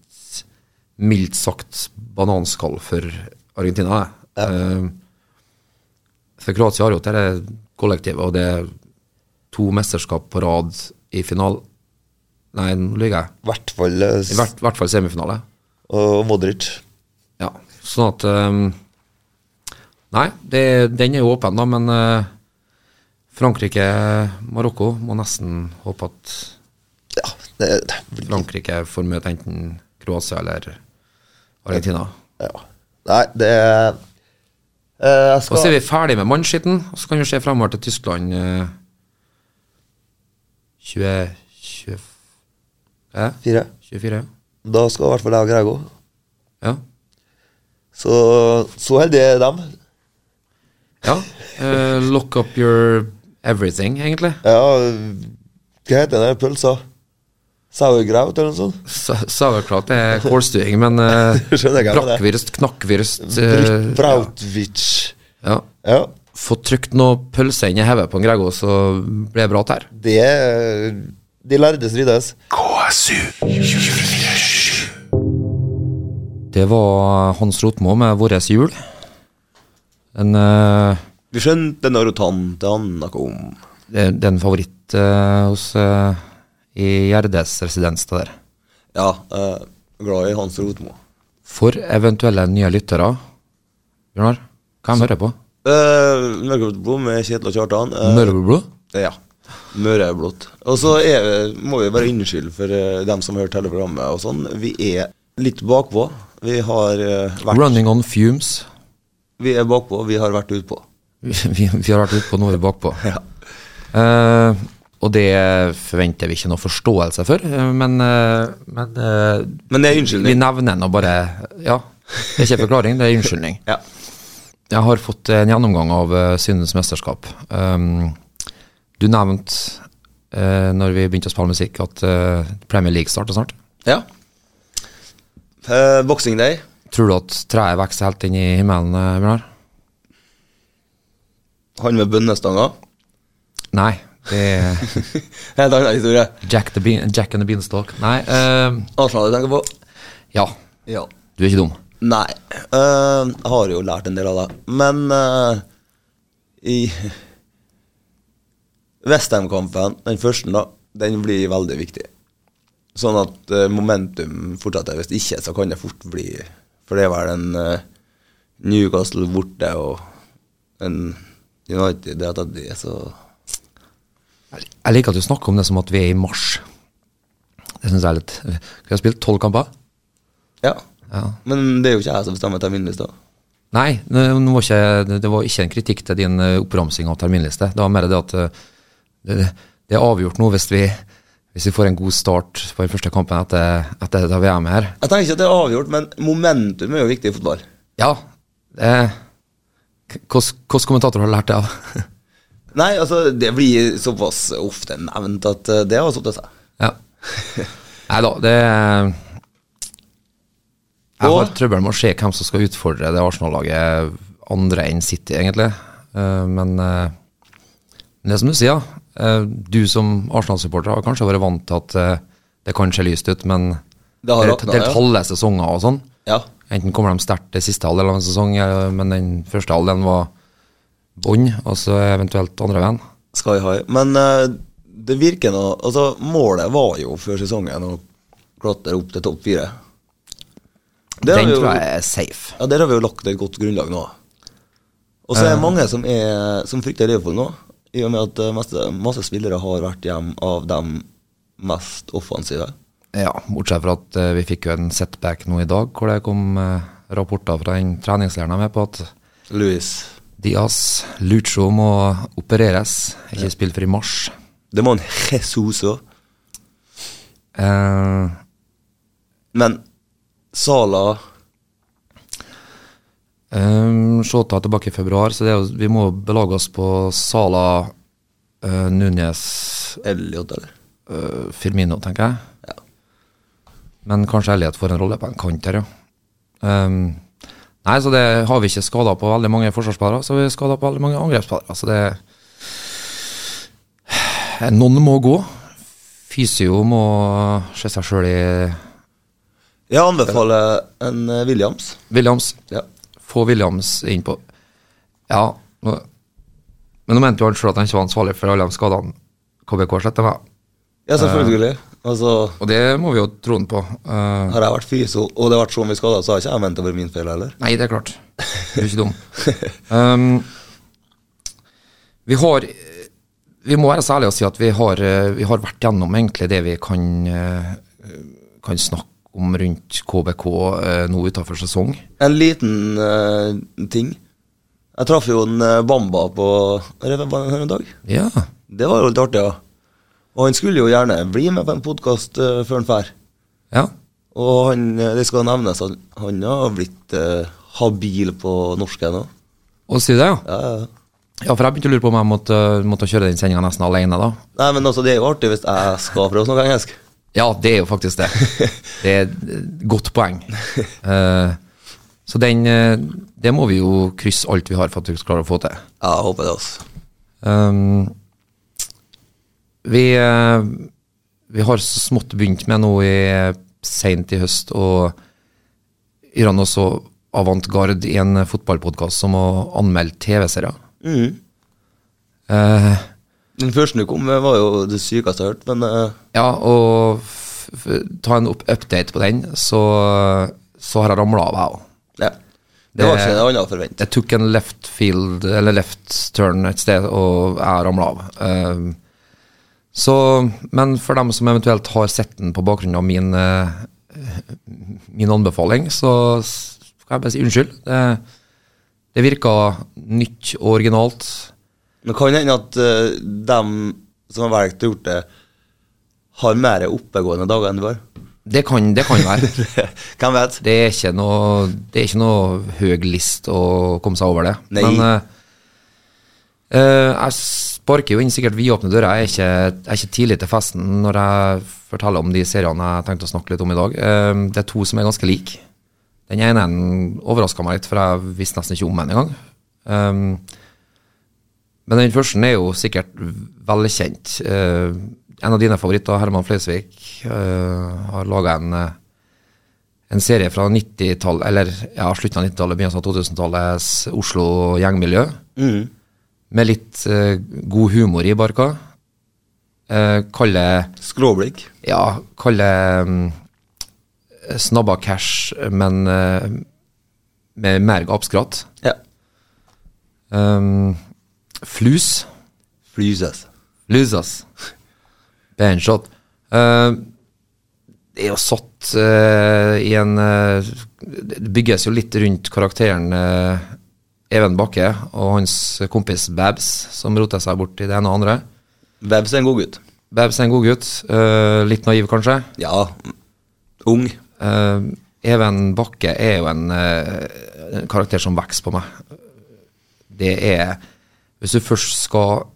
C: mildt sagt bananskall for Argentina. det. Eh, for Kroatia har jo dette kollektivet, og det er to mesterskap på rad i final... Nei, nå lyver jeg.
B: I hvert fall eh, s-
C: I hvert, hvert fall semifinale.
B: og Modric.
C: Ja, sånn at ehm, Nei, det, den er jo åpen, da, men eh, Frankrike-Marokko må nesten håpe at
B: Ja, det, det blir
C: Frankrike får møte enten Kroatia eller Argentina.
B: ja. Nei, det er eh, Jeg
C: Og så
B: skal
C: er vi ferdig med mannskitten, og så kan vi se fremover til Tyskland eh, 20... 20 eh,
B: Fire.
C: 24,
B: Da skal i hvert fall jeg og Grego.
C: ja.
B: Så, så heldige er dem.
C: ja. eh, lock up your everything, egentlig.
B: Ja, hva heter den der pølsa? Sauerkraut eller noe sånt?
C: Sa- Sauerkraut er kålstuing, men eh,
B: Skjønner jeg hva det er.
C: brakkvirst, knakkvirst eh,
B: Brautwitsch.
C: ja.
B: Ja,
C: få trykt noe pølse inn i hodet på en Grego, så blir det bra tær.
F: Det er- De lærde strides.
G: KSU.
C: Det var Hans Rotmo med vår jul. En, eh,
B: Vi skjønte Narutan det han snakka om.
C: det det er en favoritt eh, hos eh, i Gjerdes residens det der.
B: Ja, eh, glad i Hans Rotmo.
C: For eventuelle nye lyttere, Bjørnar, hva de hører på?
B: Uh, Mørkeblod med Kjetil og Kjartan. eh,
C: Møreblod?
B: Ja. Møreblått. Og så er, vi- må vi bare unnskylde for eh, dem som har hørt hele programmet og sånn. Vi er litt bakpå. Vi har eh, vært
C: Running on fumes. [laughs]
B: Vi er bakpå, vi har vært utpå.
C: Vi, vi har vært ute på noe bakpå.
B: [laughs] Ja.
C: Eh, og det forventer vi ikke noe forståelse for, eh, men, eh, men eh,
B: Men det er
C: vi
B: unnskyldning.
C: nevner den og bare Ja. Det er ikke forklaring, det er unnskyldning.
B: Ja.
C: Jeg har fått en gjennomgang av eh, Syndens mesterskap. Um, du nevnte uh, når vi begynte å spille musikk, at eh, Premier League starter snart.
B: ja. Eh, Boxing Day.
C: Tror du at treet vokser helt inn i himmelen, eh, Bjørnar?
B: Han med bønnestanga. [laughs]
C: Nei. Det er [laughs]
B: Helt annen historie.
C: Jack, the Bean, Jack and the Beanstalk. Nei. eh,
B: Arsenal jeg tenker på.
C: ja,
B: Ja.
C: du er ikke dum.
B: Nei. eh, jeg har jo lært en del av det. Men eh, i Westham-kampen, den første, da, den blir veldig viktig. Sånn at eh, momentum fortsetter. Hvis ikke, så kan det fort bli For det er vel en eh, Newcastle borte og en United etter det, så
C: Jeg liker at du snakker om det som at vi er i mars. Det syns jeg er litt eh, Vi har spilt tolv kamper.
B: ja.
C: Ja.
B: Men det er jo ikke jeg som bestemmer terminlista.
C: Nei, nå nå var ikke, det var ikke en kritikk til din eh, oppramsing av terminliste. Det var mer det at eh, det, det er avgjort nå hvis vi, hvis vi får en god start på den første kampen etter, etter dette VM her.
B: Jeg tenker ikke at det er avgjort, men momentum er jo viktig i fotball.
C: Ja, eh, k- hvordan hvordan kommentator har du lært det av? [laughs]
B: Nei, altså, det blir såpass ofte nevnt at eh, det har satt seg.
C: ja. [laughs] Nei da, det eh, Jeg har
B: Og-
C: trøbbel med å se hvem som skal utfordre det Arsenal-laget andre enn City, egentlig. Eh, men eh, Men det er som du sier, ja. Eh, Du som Arsenal-supporter har kanskje vært vant til at eh, det kan se lyst ut, men
B: Det har
C: er-
B: rakna,
C: det er
B: ja.
C: halve sesonger og sånn.
B: Ja.
C: Enten kommer de sterkt det siste halvdelen av en sesong, eh, men den første halvdelen var bånn, og så eventuelt andre veien.
B: Sky high. Men eh, det virker nå Altså, målet var jo før sesongen å klatre opp til topp fire. Det har
C: Den
B: vi jo-
C: tror jeg er safe.
B: Ja, der har vi jo lagt et godt grunnlag nå. Og så er
C: Eh.
B: det mange som, er, som frykter Liverpool nå, i og med at eh, masse, masse spillere har vært hjem av dem mest offensive.
C: Ja, bortsett fra at eh, vi fikk jo en setback nå i dag, hvor det kom eh, rapporter fra den treningsleiren jeg er med på at
B: Louis.
C: Diaz Lucho må opereres, ikke spille for i mars.
B: Det må en Jesus òg.
C: Eh,
B: Men Sala
C: Um, Shota er tilbake i februar, så det er, jo- vi må belage oss på Sala, uh, Nunes,
B: Elliot, eller?
C: eh, Firmino, tenker jeg. Men kanskje Elliot får en rolle på en kant her, ja. Um, nei, så det har vi ikke skada på veldig mange forsvarsspillere, så har vi skada på veldig mange angrepsspillere. Så det [sighs] Noen må gå. Fysio må se seg sjøl i
B: Jeg anbefaler en eh, Williams.
C: Williams.
B: Ja.
C: Få Williams inn på Ja. nå- Men nå mente jo han selv at han ikke var ansvarlig for alle de skadene KBK sletta med.
B: Ja, selvfølgelig. Altså,
C: Og det må vi jo tro han på. Eh,
B: har jeg vært fyso, og det har vært så mye skader, så har ikke jeg ment det var min feil heller.
C: nei, det er klart. Du er ikke dum. Um, vi har Vi må være så ærlige og si at vi har, eh, vi har vært gjennom egentlig det vi kan, eh, kan snakke om rundt KBK eh, nå utafor sesong.
B: En liten eh, ting. Jeg traff jo en eh, Bamba på Revenbanen her en dag.
C: Ja.
B: Det var jo litt artig, ja. Og han skulle jo gjerne bli med på en podkast før han drar.
C: ja.
B: Og han, eh, det skal nevnes at han har blitt eh, habil på norsk ennå.
C: Og si det, ja.
B: Ja, ja.
C: Ja, for jeg begynte å lure på om jeg måtte, måtte kjøre den sendinga nesten alene, da.
B: Nei, men altså, det er jo artig hvis jeg skal prøve å snakke engelsk.
C: [laughs] Ja, det er jo faktisk det. Det er et godt poeng. Eh, Så den, eh, det må vi jo krysse alt vi har for at vi skal klare å få til.
H: Ja, jeg håper det også.
B: altså.
C: Ehm, vi, eh, vi har så smått begynt med nå i seint i høst å gjøre noe så avantgarde i en fotballpodkast som å anmelde TV-serier. Eh,
H: Den første du kom med, var jo det sykeste jeg har hørt, men eh,
C: ja, og f f ta en opp update på den, så, så har jeg ramla av, jeg òg.
H: ja. Det var ikke noe annet å forvente.
C: Jeg tok en left field, eller left turn et sted, og jeg ramla av. Ehm, så, men for dem som eventuelt har sett den på bakgrunn av min, eh, min anbefaling, så skal jeg bare si unnskyld. Det, det virka nytt og originalt.
H: Men kan hende at eh, dem som har valgt å gjort det, har mer oppegående dager enn du [laughs] har.
C: Det kan, det kan være.
H: Hvem vet?
C: Det er ikke noe, det er ikke noe høy list å komme seg over det.
H: Nei.
C: Men eh, eh, jeg sparker jo inn sikkert vidåpne dører. Jeg er, ikke, jeg er ikke tidlig til festen når jeg forteller om de seriene jeg tenkte å snakke litt om i dag. Eh, det er to som er ganske like. Den ene overraska meg litt, for jeg visste nesten ikke om den engang. Um, men den første er jo sikkert velkjent. Eh, en av dine favoritter, Herman Flesvig, eh, har laga en, eh, en serie fra 90-tallet, eller ja, slutten av 90-tallet, begynnelsen av 2000-tallets Oslo gjengmiljø. Med litt eh, god humor i barka. Uh, Kall det
H: Skråblikk.
C: ja, kalle um, snabba cash, men eh, med mer gapskratt.
H: Ja.
C: Um, flus.
H: Flyses.
C: Losers. Benshot. Uh, det er jo satt eh, i en eh, Det bygges jo litt rundt karakteren eh, Even Bakke og hans kompis Babs, som roter seg bort i det ene og andre.
H: Webs er en god gutt.
C: Babs er en god gutt. eh, litt naiv, kanskje.
H: Ja. Ung.
C: Eh, Even Bakke er jo en, eh, en karakter som vokser på meg. Det er Hvis du først skal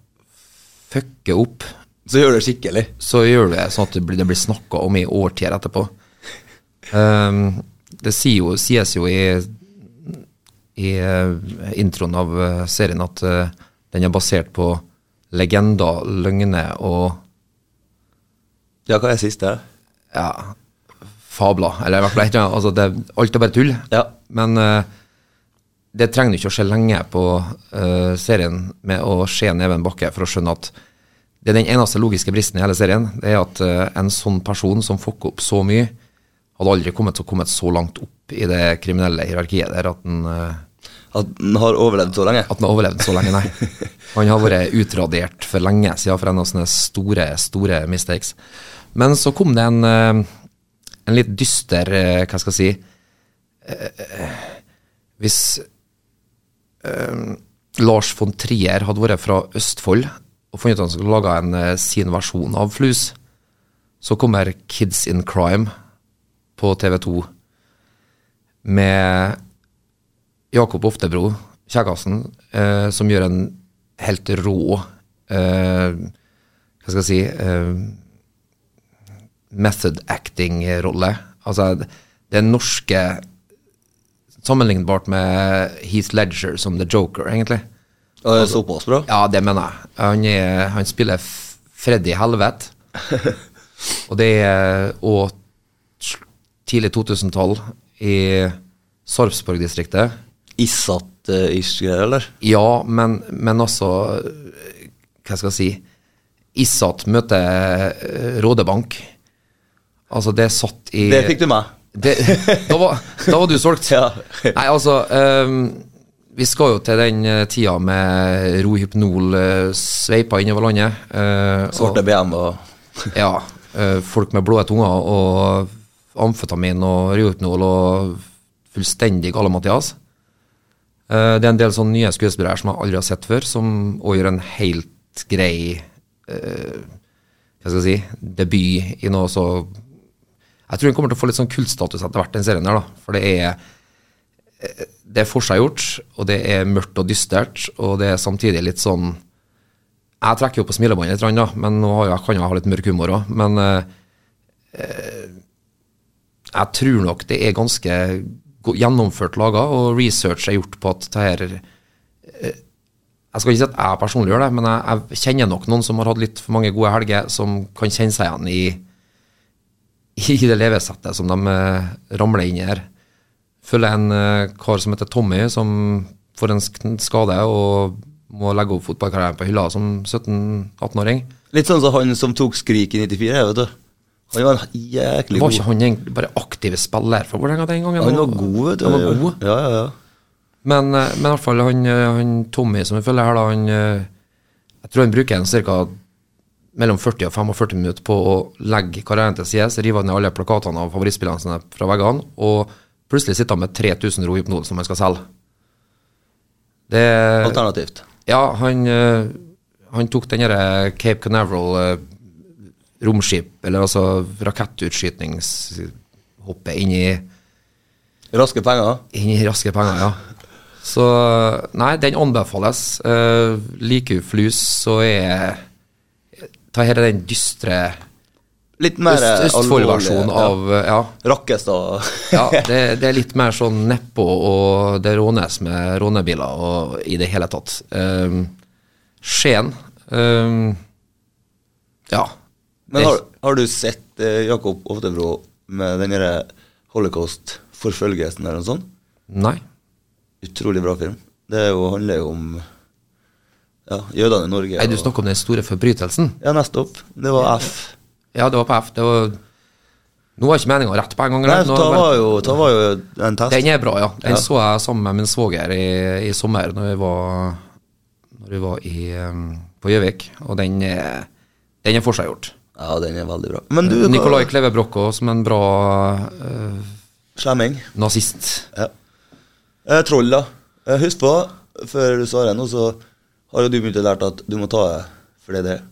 C: fucke opp,
H: Så gjør det skikkelig.
C: så gjør du det sånn at det blir, det blir snakka om i årtier etterpå. Ehm, det sier jo, sies jo i, i eh, introen av eh, serien at eh, den er basert på legender, løgner og
H: Ja, hva er siste?
C: ja, fabler. Eller i hvert fall ikke, altså det, alt er bare tull.
H: Ja.
C: Men eh, det trenger du ikke å se lenge på eh, serien med å se Neven Bakke for å skjønne at det er den eneste logiske bristen i hele serien. Det er at eh, en sånn person som fucker opp så mye, hadde aldri kommet, så kommet så langt opp i det kriminelle hierarkiet der at han eh,
H: At den har overlevd så lenge?
C: at han har overlevd så lenge, nei. Han har vært utradert for lenge siden for en av sånne store, store mistakes. Men så kom det en, eh, en litt dyster, eh, hva skal jeg si eh, eh, Hvis eh, Lars von Trier hadde vært fra Østfold og funnet ut at han skulle lage en, eh, sin versjon av Flus, så kommer Kids in Crime på TV2 med Jakob Oftebro, Kjækassen, eh, som gjør en helt rå eh, Hva skal jeg si eh, Method acting-rolle. Altså, det er norske Sammenlignbart med Heath Ledger som The Joker, egentlig.
H: Og er såpass bra?
C: Ja, det mener jeg. Han, er, han spiller F- Freddy Helvete. og det er og sl- tidlig 2000-tall i Sarpsborg-distriktet.
H: Isat-ish greier, eh, eller?
C: Ja, men, men altså eh, Hva skal jeg si Isat møter eh, Rådebank. Altså, det er satt i
H: Det fikk du meg.
C: det, da, var, da var du solgt.
H: [laughs] Ja.
C: Nei, altså ehm, Vi skal jo til den eh, tida med Rohypnol eh, sveipa innover landet. eh, og-
H: Svarte BM og
C: [laughs] ja. eh, Folk med blå tunger og amfetamin og Rohypnol og fullstendig gale Mathias. Eh, Det er en del sånne nye skuespillere her som jeg aldri har sett før, som også gjør en helt grei eh, hva skal jeg si, debut i noe så Jeg tror den kommer til å få litt sånn kultstatus etter hvert, den serien her, da. For det er eh, det er forseggjort, og det er mørkt og dystert, og det er samtidig litt sånn jeg trekker jo på smilebåndet litt, grann, da, men nå har jeg, kan jeg ha litt mørk humor òg. Men eh, eh, jeg tror nok det er ganske go- gjennomført laga, og research er gjort på at det her eh, Jeg skal ikke si at jeg personlig gjør det, men jeg, jeg kjenner nok noen som har hatt litt for mange gode helger, som kan kjenne seg igjen i, i det levesettet som de eh, ramler inn i her. Følger en eh, kar som heter Tommy, som får en sk- skade og må legge opp fotballkarrieren på hylla som 17-18-åring.
B: Litt sånn som han som tok Skrik i 94, her, vet du. Han var en jæklig
C: Var
B: god.
C: ikke han egentlig bare aktiv spiller for Vålerenga den gangen?
B: Han var god, vet du.
C: Han var god.
B: Ja, ja, ja.
C: Men, eh, men i hvert fall han, eh, han Tommy som vi følger her, da, han eh, Jeg tror han bruker en cirka mellom 40 og 45 minutter på å legge karrieren til side, så river han ned alle plakatene av favorittspillerne sine fra veggene, og plutselig sitter han med 3000 rohypnol som han skal selge. Det
B: Alternativt.
C: Ja, han, eh, han tok den derre Cape Canaveral eh, romskip, eller altså rakettutskytningshoppet inn i
B: Raske penger.
C: inn i raske penger, ja. Så eh, nei, den anbefales. Uh, liker du flus, så er Ta her er den dystre
B: Litt mer
C: øst, Østfold-versjonen
B: alvorlig,
C: av
B: ja.
C: eh, ja.
B: Rakkestad.
C: ja det, det er litt mer sånn nedpå, og det rånes med rånebiler og i det hele tatt. Um, Skien um, Ja.
B: [laughs] Men har, har du sett eh, Jakob Oftebro med den derre holocaust-forfølgelsen eller noe sånt?
C: Nei.
B: Utrolig bra film. Det er jo, handler jo om ja, jødene i Norge.
C: Nei, du
B: og-
C: snakker om den store forbrytelsen?
B: Ja, nettopp. Det var F.
C: Ja, det var på F. Det var, nå var ikke meninga rett på en gang.
B: Nei,
C: eller? Nå
B: da
C: var-
B: var jo, da var jo en test.
C: Den er bra, ja. Den
B: Ja.
C: så jeg sammen med min svoger i, i sommer når vi var, når vi var i, eh, på Gjøvik. Og den, er- den er forseggjort.
B: Ja, den er veldig bra. Men du,
C: Nicolai Kleve Brocco som en bra eh,
B: Slemming.
C: nazist.
B: Ja. Eh, troll, da. Eh, husk på, før du svarer nå, så har jo du begynt å lære at du må ta det for det det er.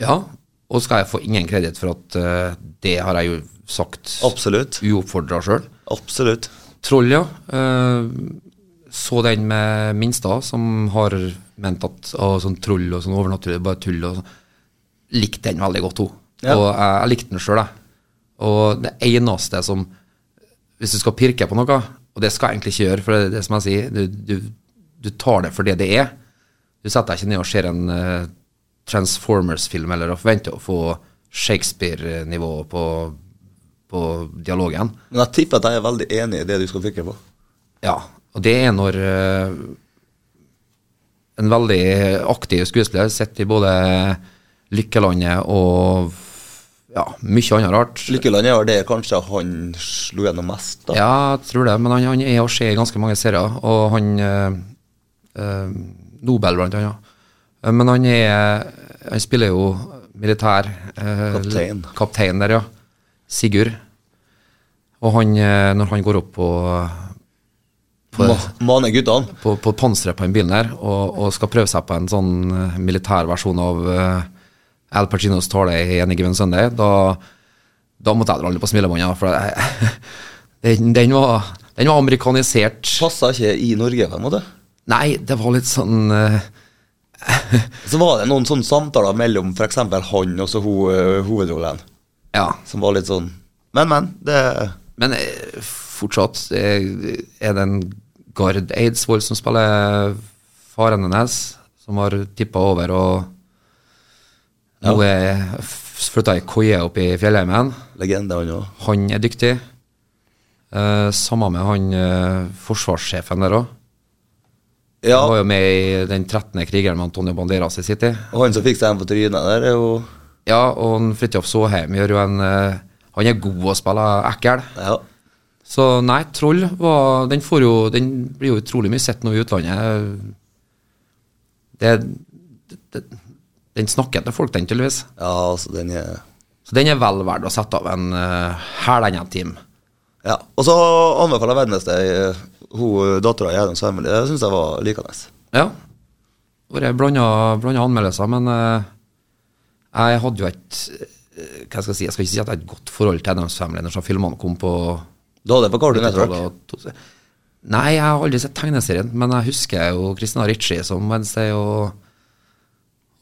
C: Ja, og skal jeg få ingen kreditt for at eh, det har jeg jo sagt
B: Absolutt.
C: uoppfordra sjøl.
B: Absolutt.
C: Troll, ja. Eh, så den med Minstad, som har ment at å, sånn troll og sånn overnaturlig er bare tull. og sånn. Likte den veldig godt, hun.
B: Ja.
C: Og jeg, jeg likte den sjøl, jeg. Og det eneste som Hvis du skal pirke på noe, og det skal jeg egentlig ikke gjøre, for det er det som jeg sier, du, du, du tar det for det det er. Du setter deg ikke ned og ser en eh, Transformers-film eller og forventer å få Shakespeare-nivå på, på dialogen.
B: Men jeg tipper at jeg er veldig enig i det du skal fikre på.
C: Ja, og det er når eh, en veldig aktiv skuespiller sitter i både Lykkelandet og ja, mye annet rart.
B: Lykkeland er vel det kanskje han slo gjennom mest, da.
C: Ja, jeg tror det, men han, han er å se i ganske mange serier, og han eh, eh, Nobel, blant annet. Eh, Men han er Han spiller jo militær eh,
B: Kaptein.
C: Kaptein der, ja. Sigurd. Og han, eh, når han går opp på, på
B: Ma Mane guttene.
C: på, på panseret på den bilen her og, og skal prøve seg på en sånn eh, militær versjon av eh, Al Pacinos tale i En given Sunday, da, da måtte jeg dra litt på smilebåndet. For jeg, [laughs] den, den, var, den var amerikanisert.
B: Passa ikke i Norge, på en måte.
C: Nei, det var litt sånn eh,
B: Så var det noen sånne samtaler mellom f.eks. han og så ho eh, hovedrollen,
C: Ja.
B: som var litt sånn Men, men. Det
C: Men eh, fortsatt eh, er det en Gard Eidsvoll som spiller faren hennes, som har tippa over og nå er flytta ei koie opp i fjellheimen.
B: legende, han òg.
C: Han er dyktig. Eh, Samme med han eh, forsvarssjefen der òg.
B: Ja,
C: Han var jo med i Den 13. krigeren med Antonio Banderas i City.
B: og han som fikk seg en på trynet der, er jo
C: Ja, og han Fridtjof Saaheim gjør jo en eh, Han er god å spille ekkel.
B: Ja.
C: Så nei, Troll var, den, får jo, den blir jo utrolig mye sett nå i utlandet. Det, det, den snakker til folk, den, tydeligvis.
B: Ja, altså, den er
C: Så den er vel verdt å sette av en uh, hælengen time.
B: Ja. Og så anbefaler jeg Wednesday, eh, hun dattera i Adams Family. Det syns jeg var likende.
C: Ja. Det har vært blanda anmeldelser, men eh, jeg hadde jo et eh, Hva skal jeg si, jeg skal ikke si at jeg har et godt forhold til Adams Family når så filmene kom på
B: Du hadde det på Cartoon Network.
C: 90-tallet og to- Nei, jeg har aldri sett tegneserien, men jeg husker jo Christina Ritchie som Wednesday og,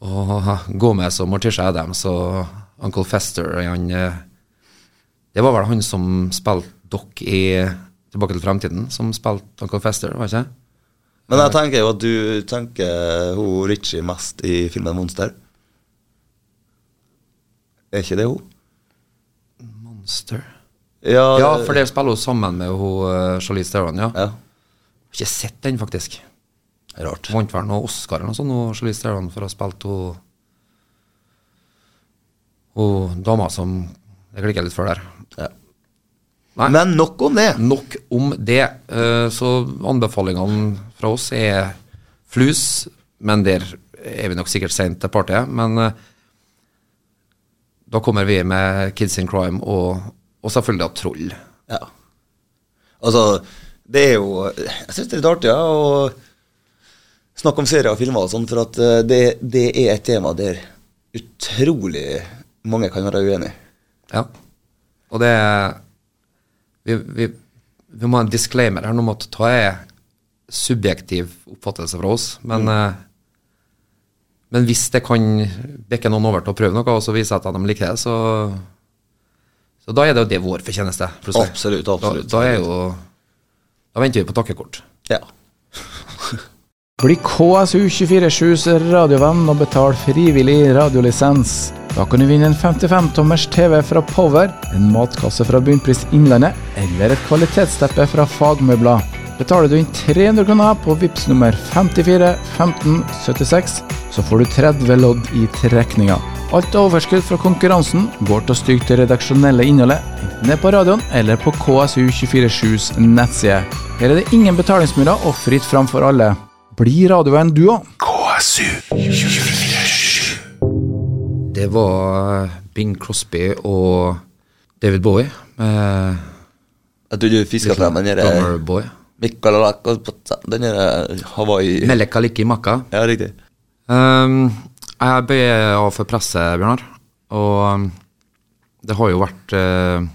C: og Gomez og Morticia Adams og Uncle Fester. og Han, eh, det var vel han som spilte Doc i Tilbake til fremtiden, som spilte Uncle Fester, var ikke det?
B: Men jeg tenker jo at du tenker hun Ritchie mest i filmen Monster. Er ikke det hun?
C: Monster.
B: Ja,
C: Ja, for det spiller hun sammen med hun eh, Charlize Theron, ja.
B: Ja,
C: Har ikke sett den, faktisk.
B: Rart.
C: Vant vel noe Oscar eller noe sånt, hun Charlize Theron, for å ha spilt hun Hun dama som Det klikker litt før der.
B: Ja.
C: Nei.
B: Men nok om det.
C: Nok om det. Eh, Så anbefalingene fra oss er flus, men der er vi nok sikkert sent til partiet. Men eh, da kommer vi med Kids in Crime og, og selvfølgelig da Troll.
B: Ja. Altså, det er jo Jeg syns det er litt artig ja, å snakke om serier og filmer og sånn, for at eh, det, det er et tema der utrolig mange kan være uenig.
C: Ja. Og det er vi, vi, vi må ha en disclaimer her nå om at ta er subjektiv oppfattelse fra oss, men
B: Mm.
C: eh, men hvis det kan bikke noen over til å prøve noe, og så viser at de liker det, så, så da er det jo det vår fortjeneste. for å si.
B: Absolutt, absolutt.
C: Da, da er jo Da venter vi på takkekort.
B: Ja.
E: Bli KSU247s radiovenn og betal frivillig radiolisens. Da kan du vinne en 55-tommers TV fra Power, en matkasse fra Bunnpris Innlandet eller et kvalitetsteppe fra Fagmøbler. Betaler du inn 300 kroner på VIPS nummer 54 15 76, så får du 30 lodd i trekninga. Alt overskudd fra konkurransen går til å styrke det redaksjonelle innholdet, enten det er på radioen eller på KSU247s nettside. Her er det ingen betalingsmurer og fritt fram for alle. Bli radioveien du òg.
C: Det var eh, Bing Crosby og David Bowie med
B: Jeg trodde du fiska frem den derre
C: Dumber Boy.
B: Den derre Hawaii
C: Meleka Liki Maka.
B: Ja, riktig.
C: Ehm, jeg bøyer av for presset, Bjørnar. Og ehm, det har jo vært eh,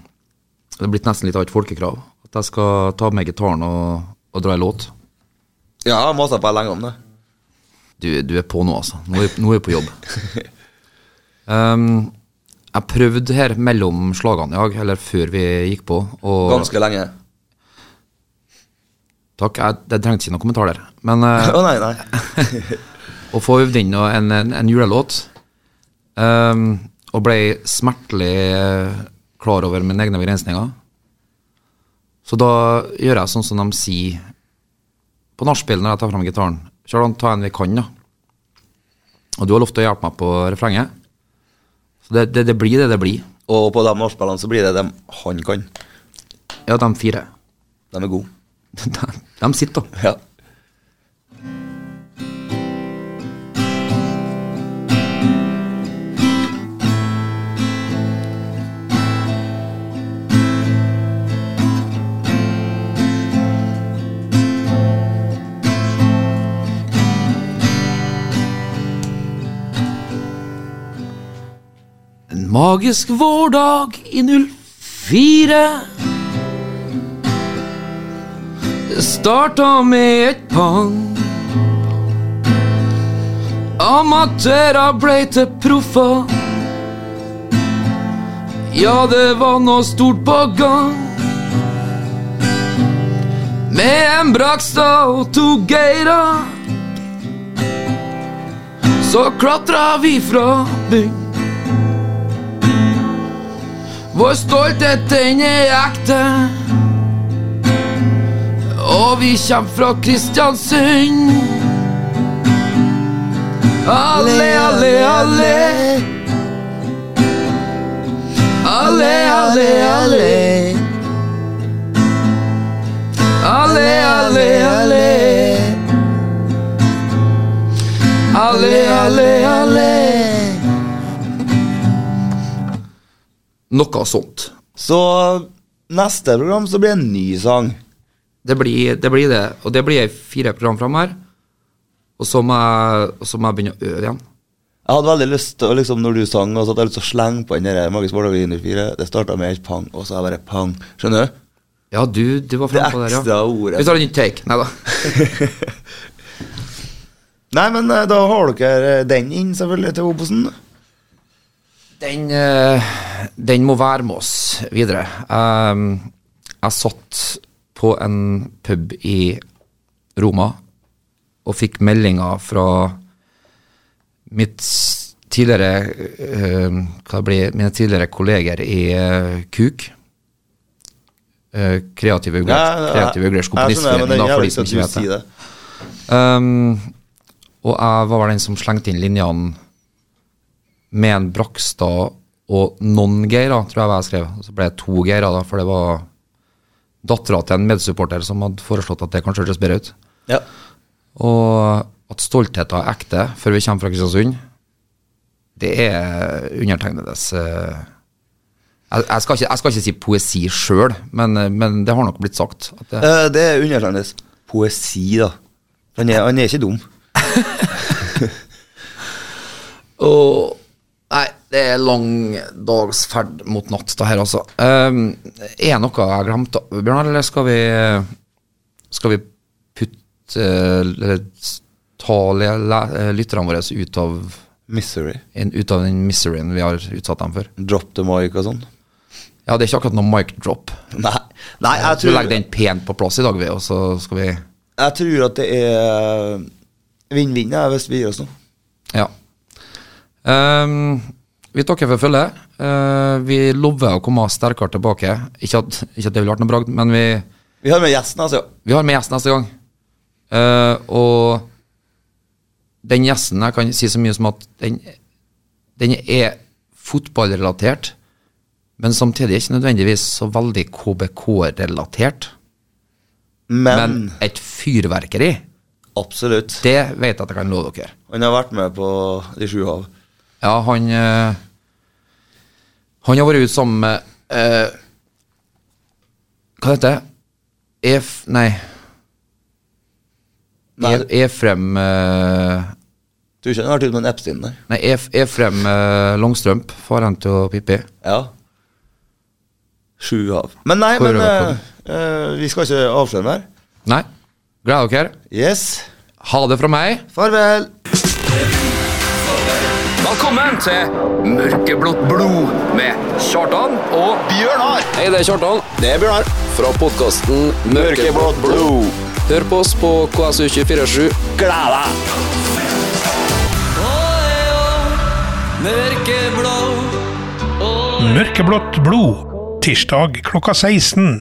C: Det har blitt nesten litt av et folkekrav at jeg skal ta med gitaren og, og dra en låt.
B: Ja, jeg masa på lenge om det.
C: Du, du er på nå, altså. Nå er, nå er jeg på jobb. Ehm, jeg prøvde her mellom slagene i dag, eller før vi gikk på. Og,
B: Ganske lenge.
C: Takk, jeg, jeg trengte ikke noen kommentar der. Men
B: Å
C: eh,
B: [laughs] nei, nei.
C: å få øvd inn og en, en, en julelåt. ehm, og ble smertelig eh, klar over mine egne begrensninger. Så da gjør jeg sånn som de sier på nachspiel når jeg tar fram gitaren. Kjartan, ta en vi kan, da. Og du har lovt å hjelpe meg på refrenget. Så det, det, det blir det det blir.
B: Og på de nachspielene så blir det dem han kan.
C: Ja, de fire. [laughs]
B: De er gode.
C: de, de sitter, da.
B: Ja.
C: En magisk vårdag i 04 Det starta med et pang Amatører blei til proffer Ja, det var noe stort på gang Med en Brakstad og to Geira Så klatra vi fra bygg vår stolthet, den er ekte. Og vi kjem fra Kristiansund. Alle, alle, alle. Alle, alle, alle. Alle, alle, alle. Alle, alle, alle. Noe sånt.
B: Så neste program så blir det en ny sang.
C: Det blir, det blir det. Og det blir fire program fram her. Og så må jeg, og så må jeg begynne å øve igjen.
B: Jeg hadde veldig lyst til, å, liksom, når du sang, og så hadde jeg lyst til å slenge på den der eh, Magisk Vårdag i 104. Det starta med et pang, og så er jeg bare pang. Skjønner du?
C: Ja, du, du var
B: Det
C: fremme på det, ja.
B: ekstra ordet.
C: Vi tar en ny take. Nei da.
B: Nei, men eh, da har dere eh, den inn, selvfølgelig, til Obosen.
C: Den, eh, den må være med oss videre. Ehm, jeg satt på en pub i Roma og fikk meldinger fra mitt s- tidligere, eh, hva det blir, mine tidligere kolleger i eh, KUK. eh, Kreative Uglers, Kreative Uglers
B: sånn
C: Komponistforening, da, for de som ikke vet det.
B: det.
C: Ehm, og jeg var vel den som slengte inn linjene med en Brakstad og noen Geirer, tror jeg var jeg skrev. Så ble det to Geirer, da, for det var dattera til en medsupporter som hadde foreslått at det kanskje hørtes bedre ut.
B: Ja.
C: Og at stoltheten er ekte før vi kommer fra Kristiansund, det er undertegnedes eh, jeg, jeg, skal ikke, jeg skal ikke si poesi sjøl, men, eh, men det har nok blitt sagt. At det,
B: Eh, det er undertegnedes poesi, da. Han er, han er ikke dum.
C: Åh, nei, det er lang dags ferd mot natt, det her, altså. Ehm, er noe jeg glemte, Bjørnar, eller skal vi Skal vi putte Eller s- ta le- le- lytterne våre ut av,
B: Misery.
C: en, ut av den miseryen vi har utsatt dem for?
B: Drop the mic og sånn. [laughs]
C: Ja, det er ikke akkurat noe mic drop.
B: Nei, nei jeg,
C: Vi
B: tror,
C: legger den pent på plass i dag, vi, og så skal vi
B: jeg tror at det er eh, vinn-vinn ja, hvis vi gir oss nå.
C: Ja. Ehm, vi takker for følget. Eh, vi lover å komme sterkere tilbake. Ikke at, ikke at det ville vært noe bragd, men vi,
B: Vi har med gjesten, altså.
C: vi har med gjest neste gang. Eh, og den gjesten Jeg kan si så mye som at den, den er fotballrelatert, men samtidig ikke nødvendigvis så veldig KBK-relatert.
B: Men,
C: Men et fyrverkeri,
B: absolutt.
C: det vet jeg at jeg kan love dere.
B: Han har vært med på De sju hav.
C: Ja, han eh, Han har vært ute sammen med eh, Hva heter det? Ef... Nei.
B: Nei,
C: E- Efrem eh,
B: tror ikke han har vært ute med en Epstein der.
C: Nei, Ef, Efrem eh, Langstrømp, faren til Pippi.
B: Ja. Sju hav. Men nei,
C: Hvor er
B: men
C: det
B: eh, eh, vi skal ikke avsløre mer.
C: Nei. Gleder dere.
B: Yes.
C: Ha det fra meg.
B: Farvel.
A: Velkommen til Mørkeblått blod med Kjartan og Bjørnar.
I: Hei, det er Kjartan. Det er Bjørnar. Fra podkasten Mørkeblått blod. Hør på oss på KSU247.
D: Mørkeblått blod. Tirsdag klokka 16.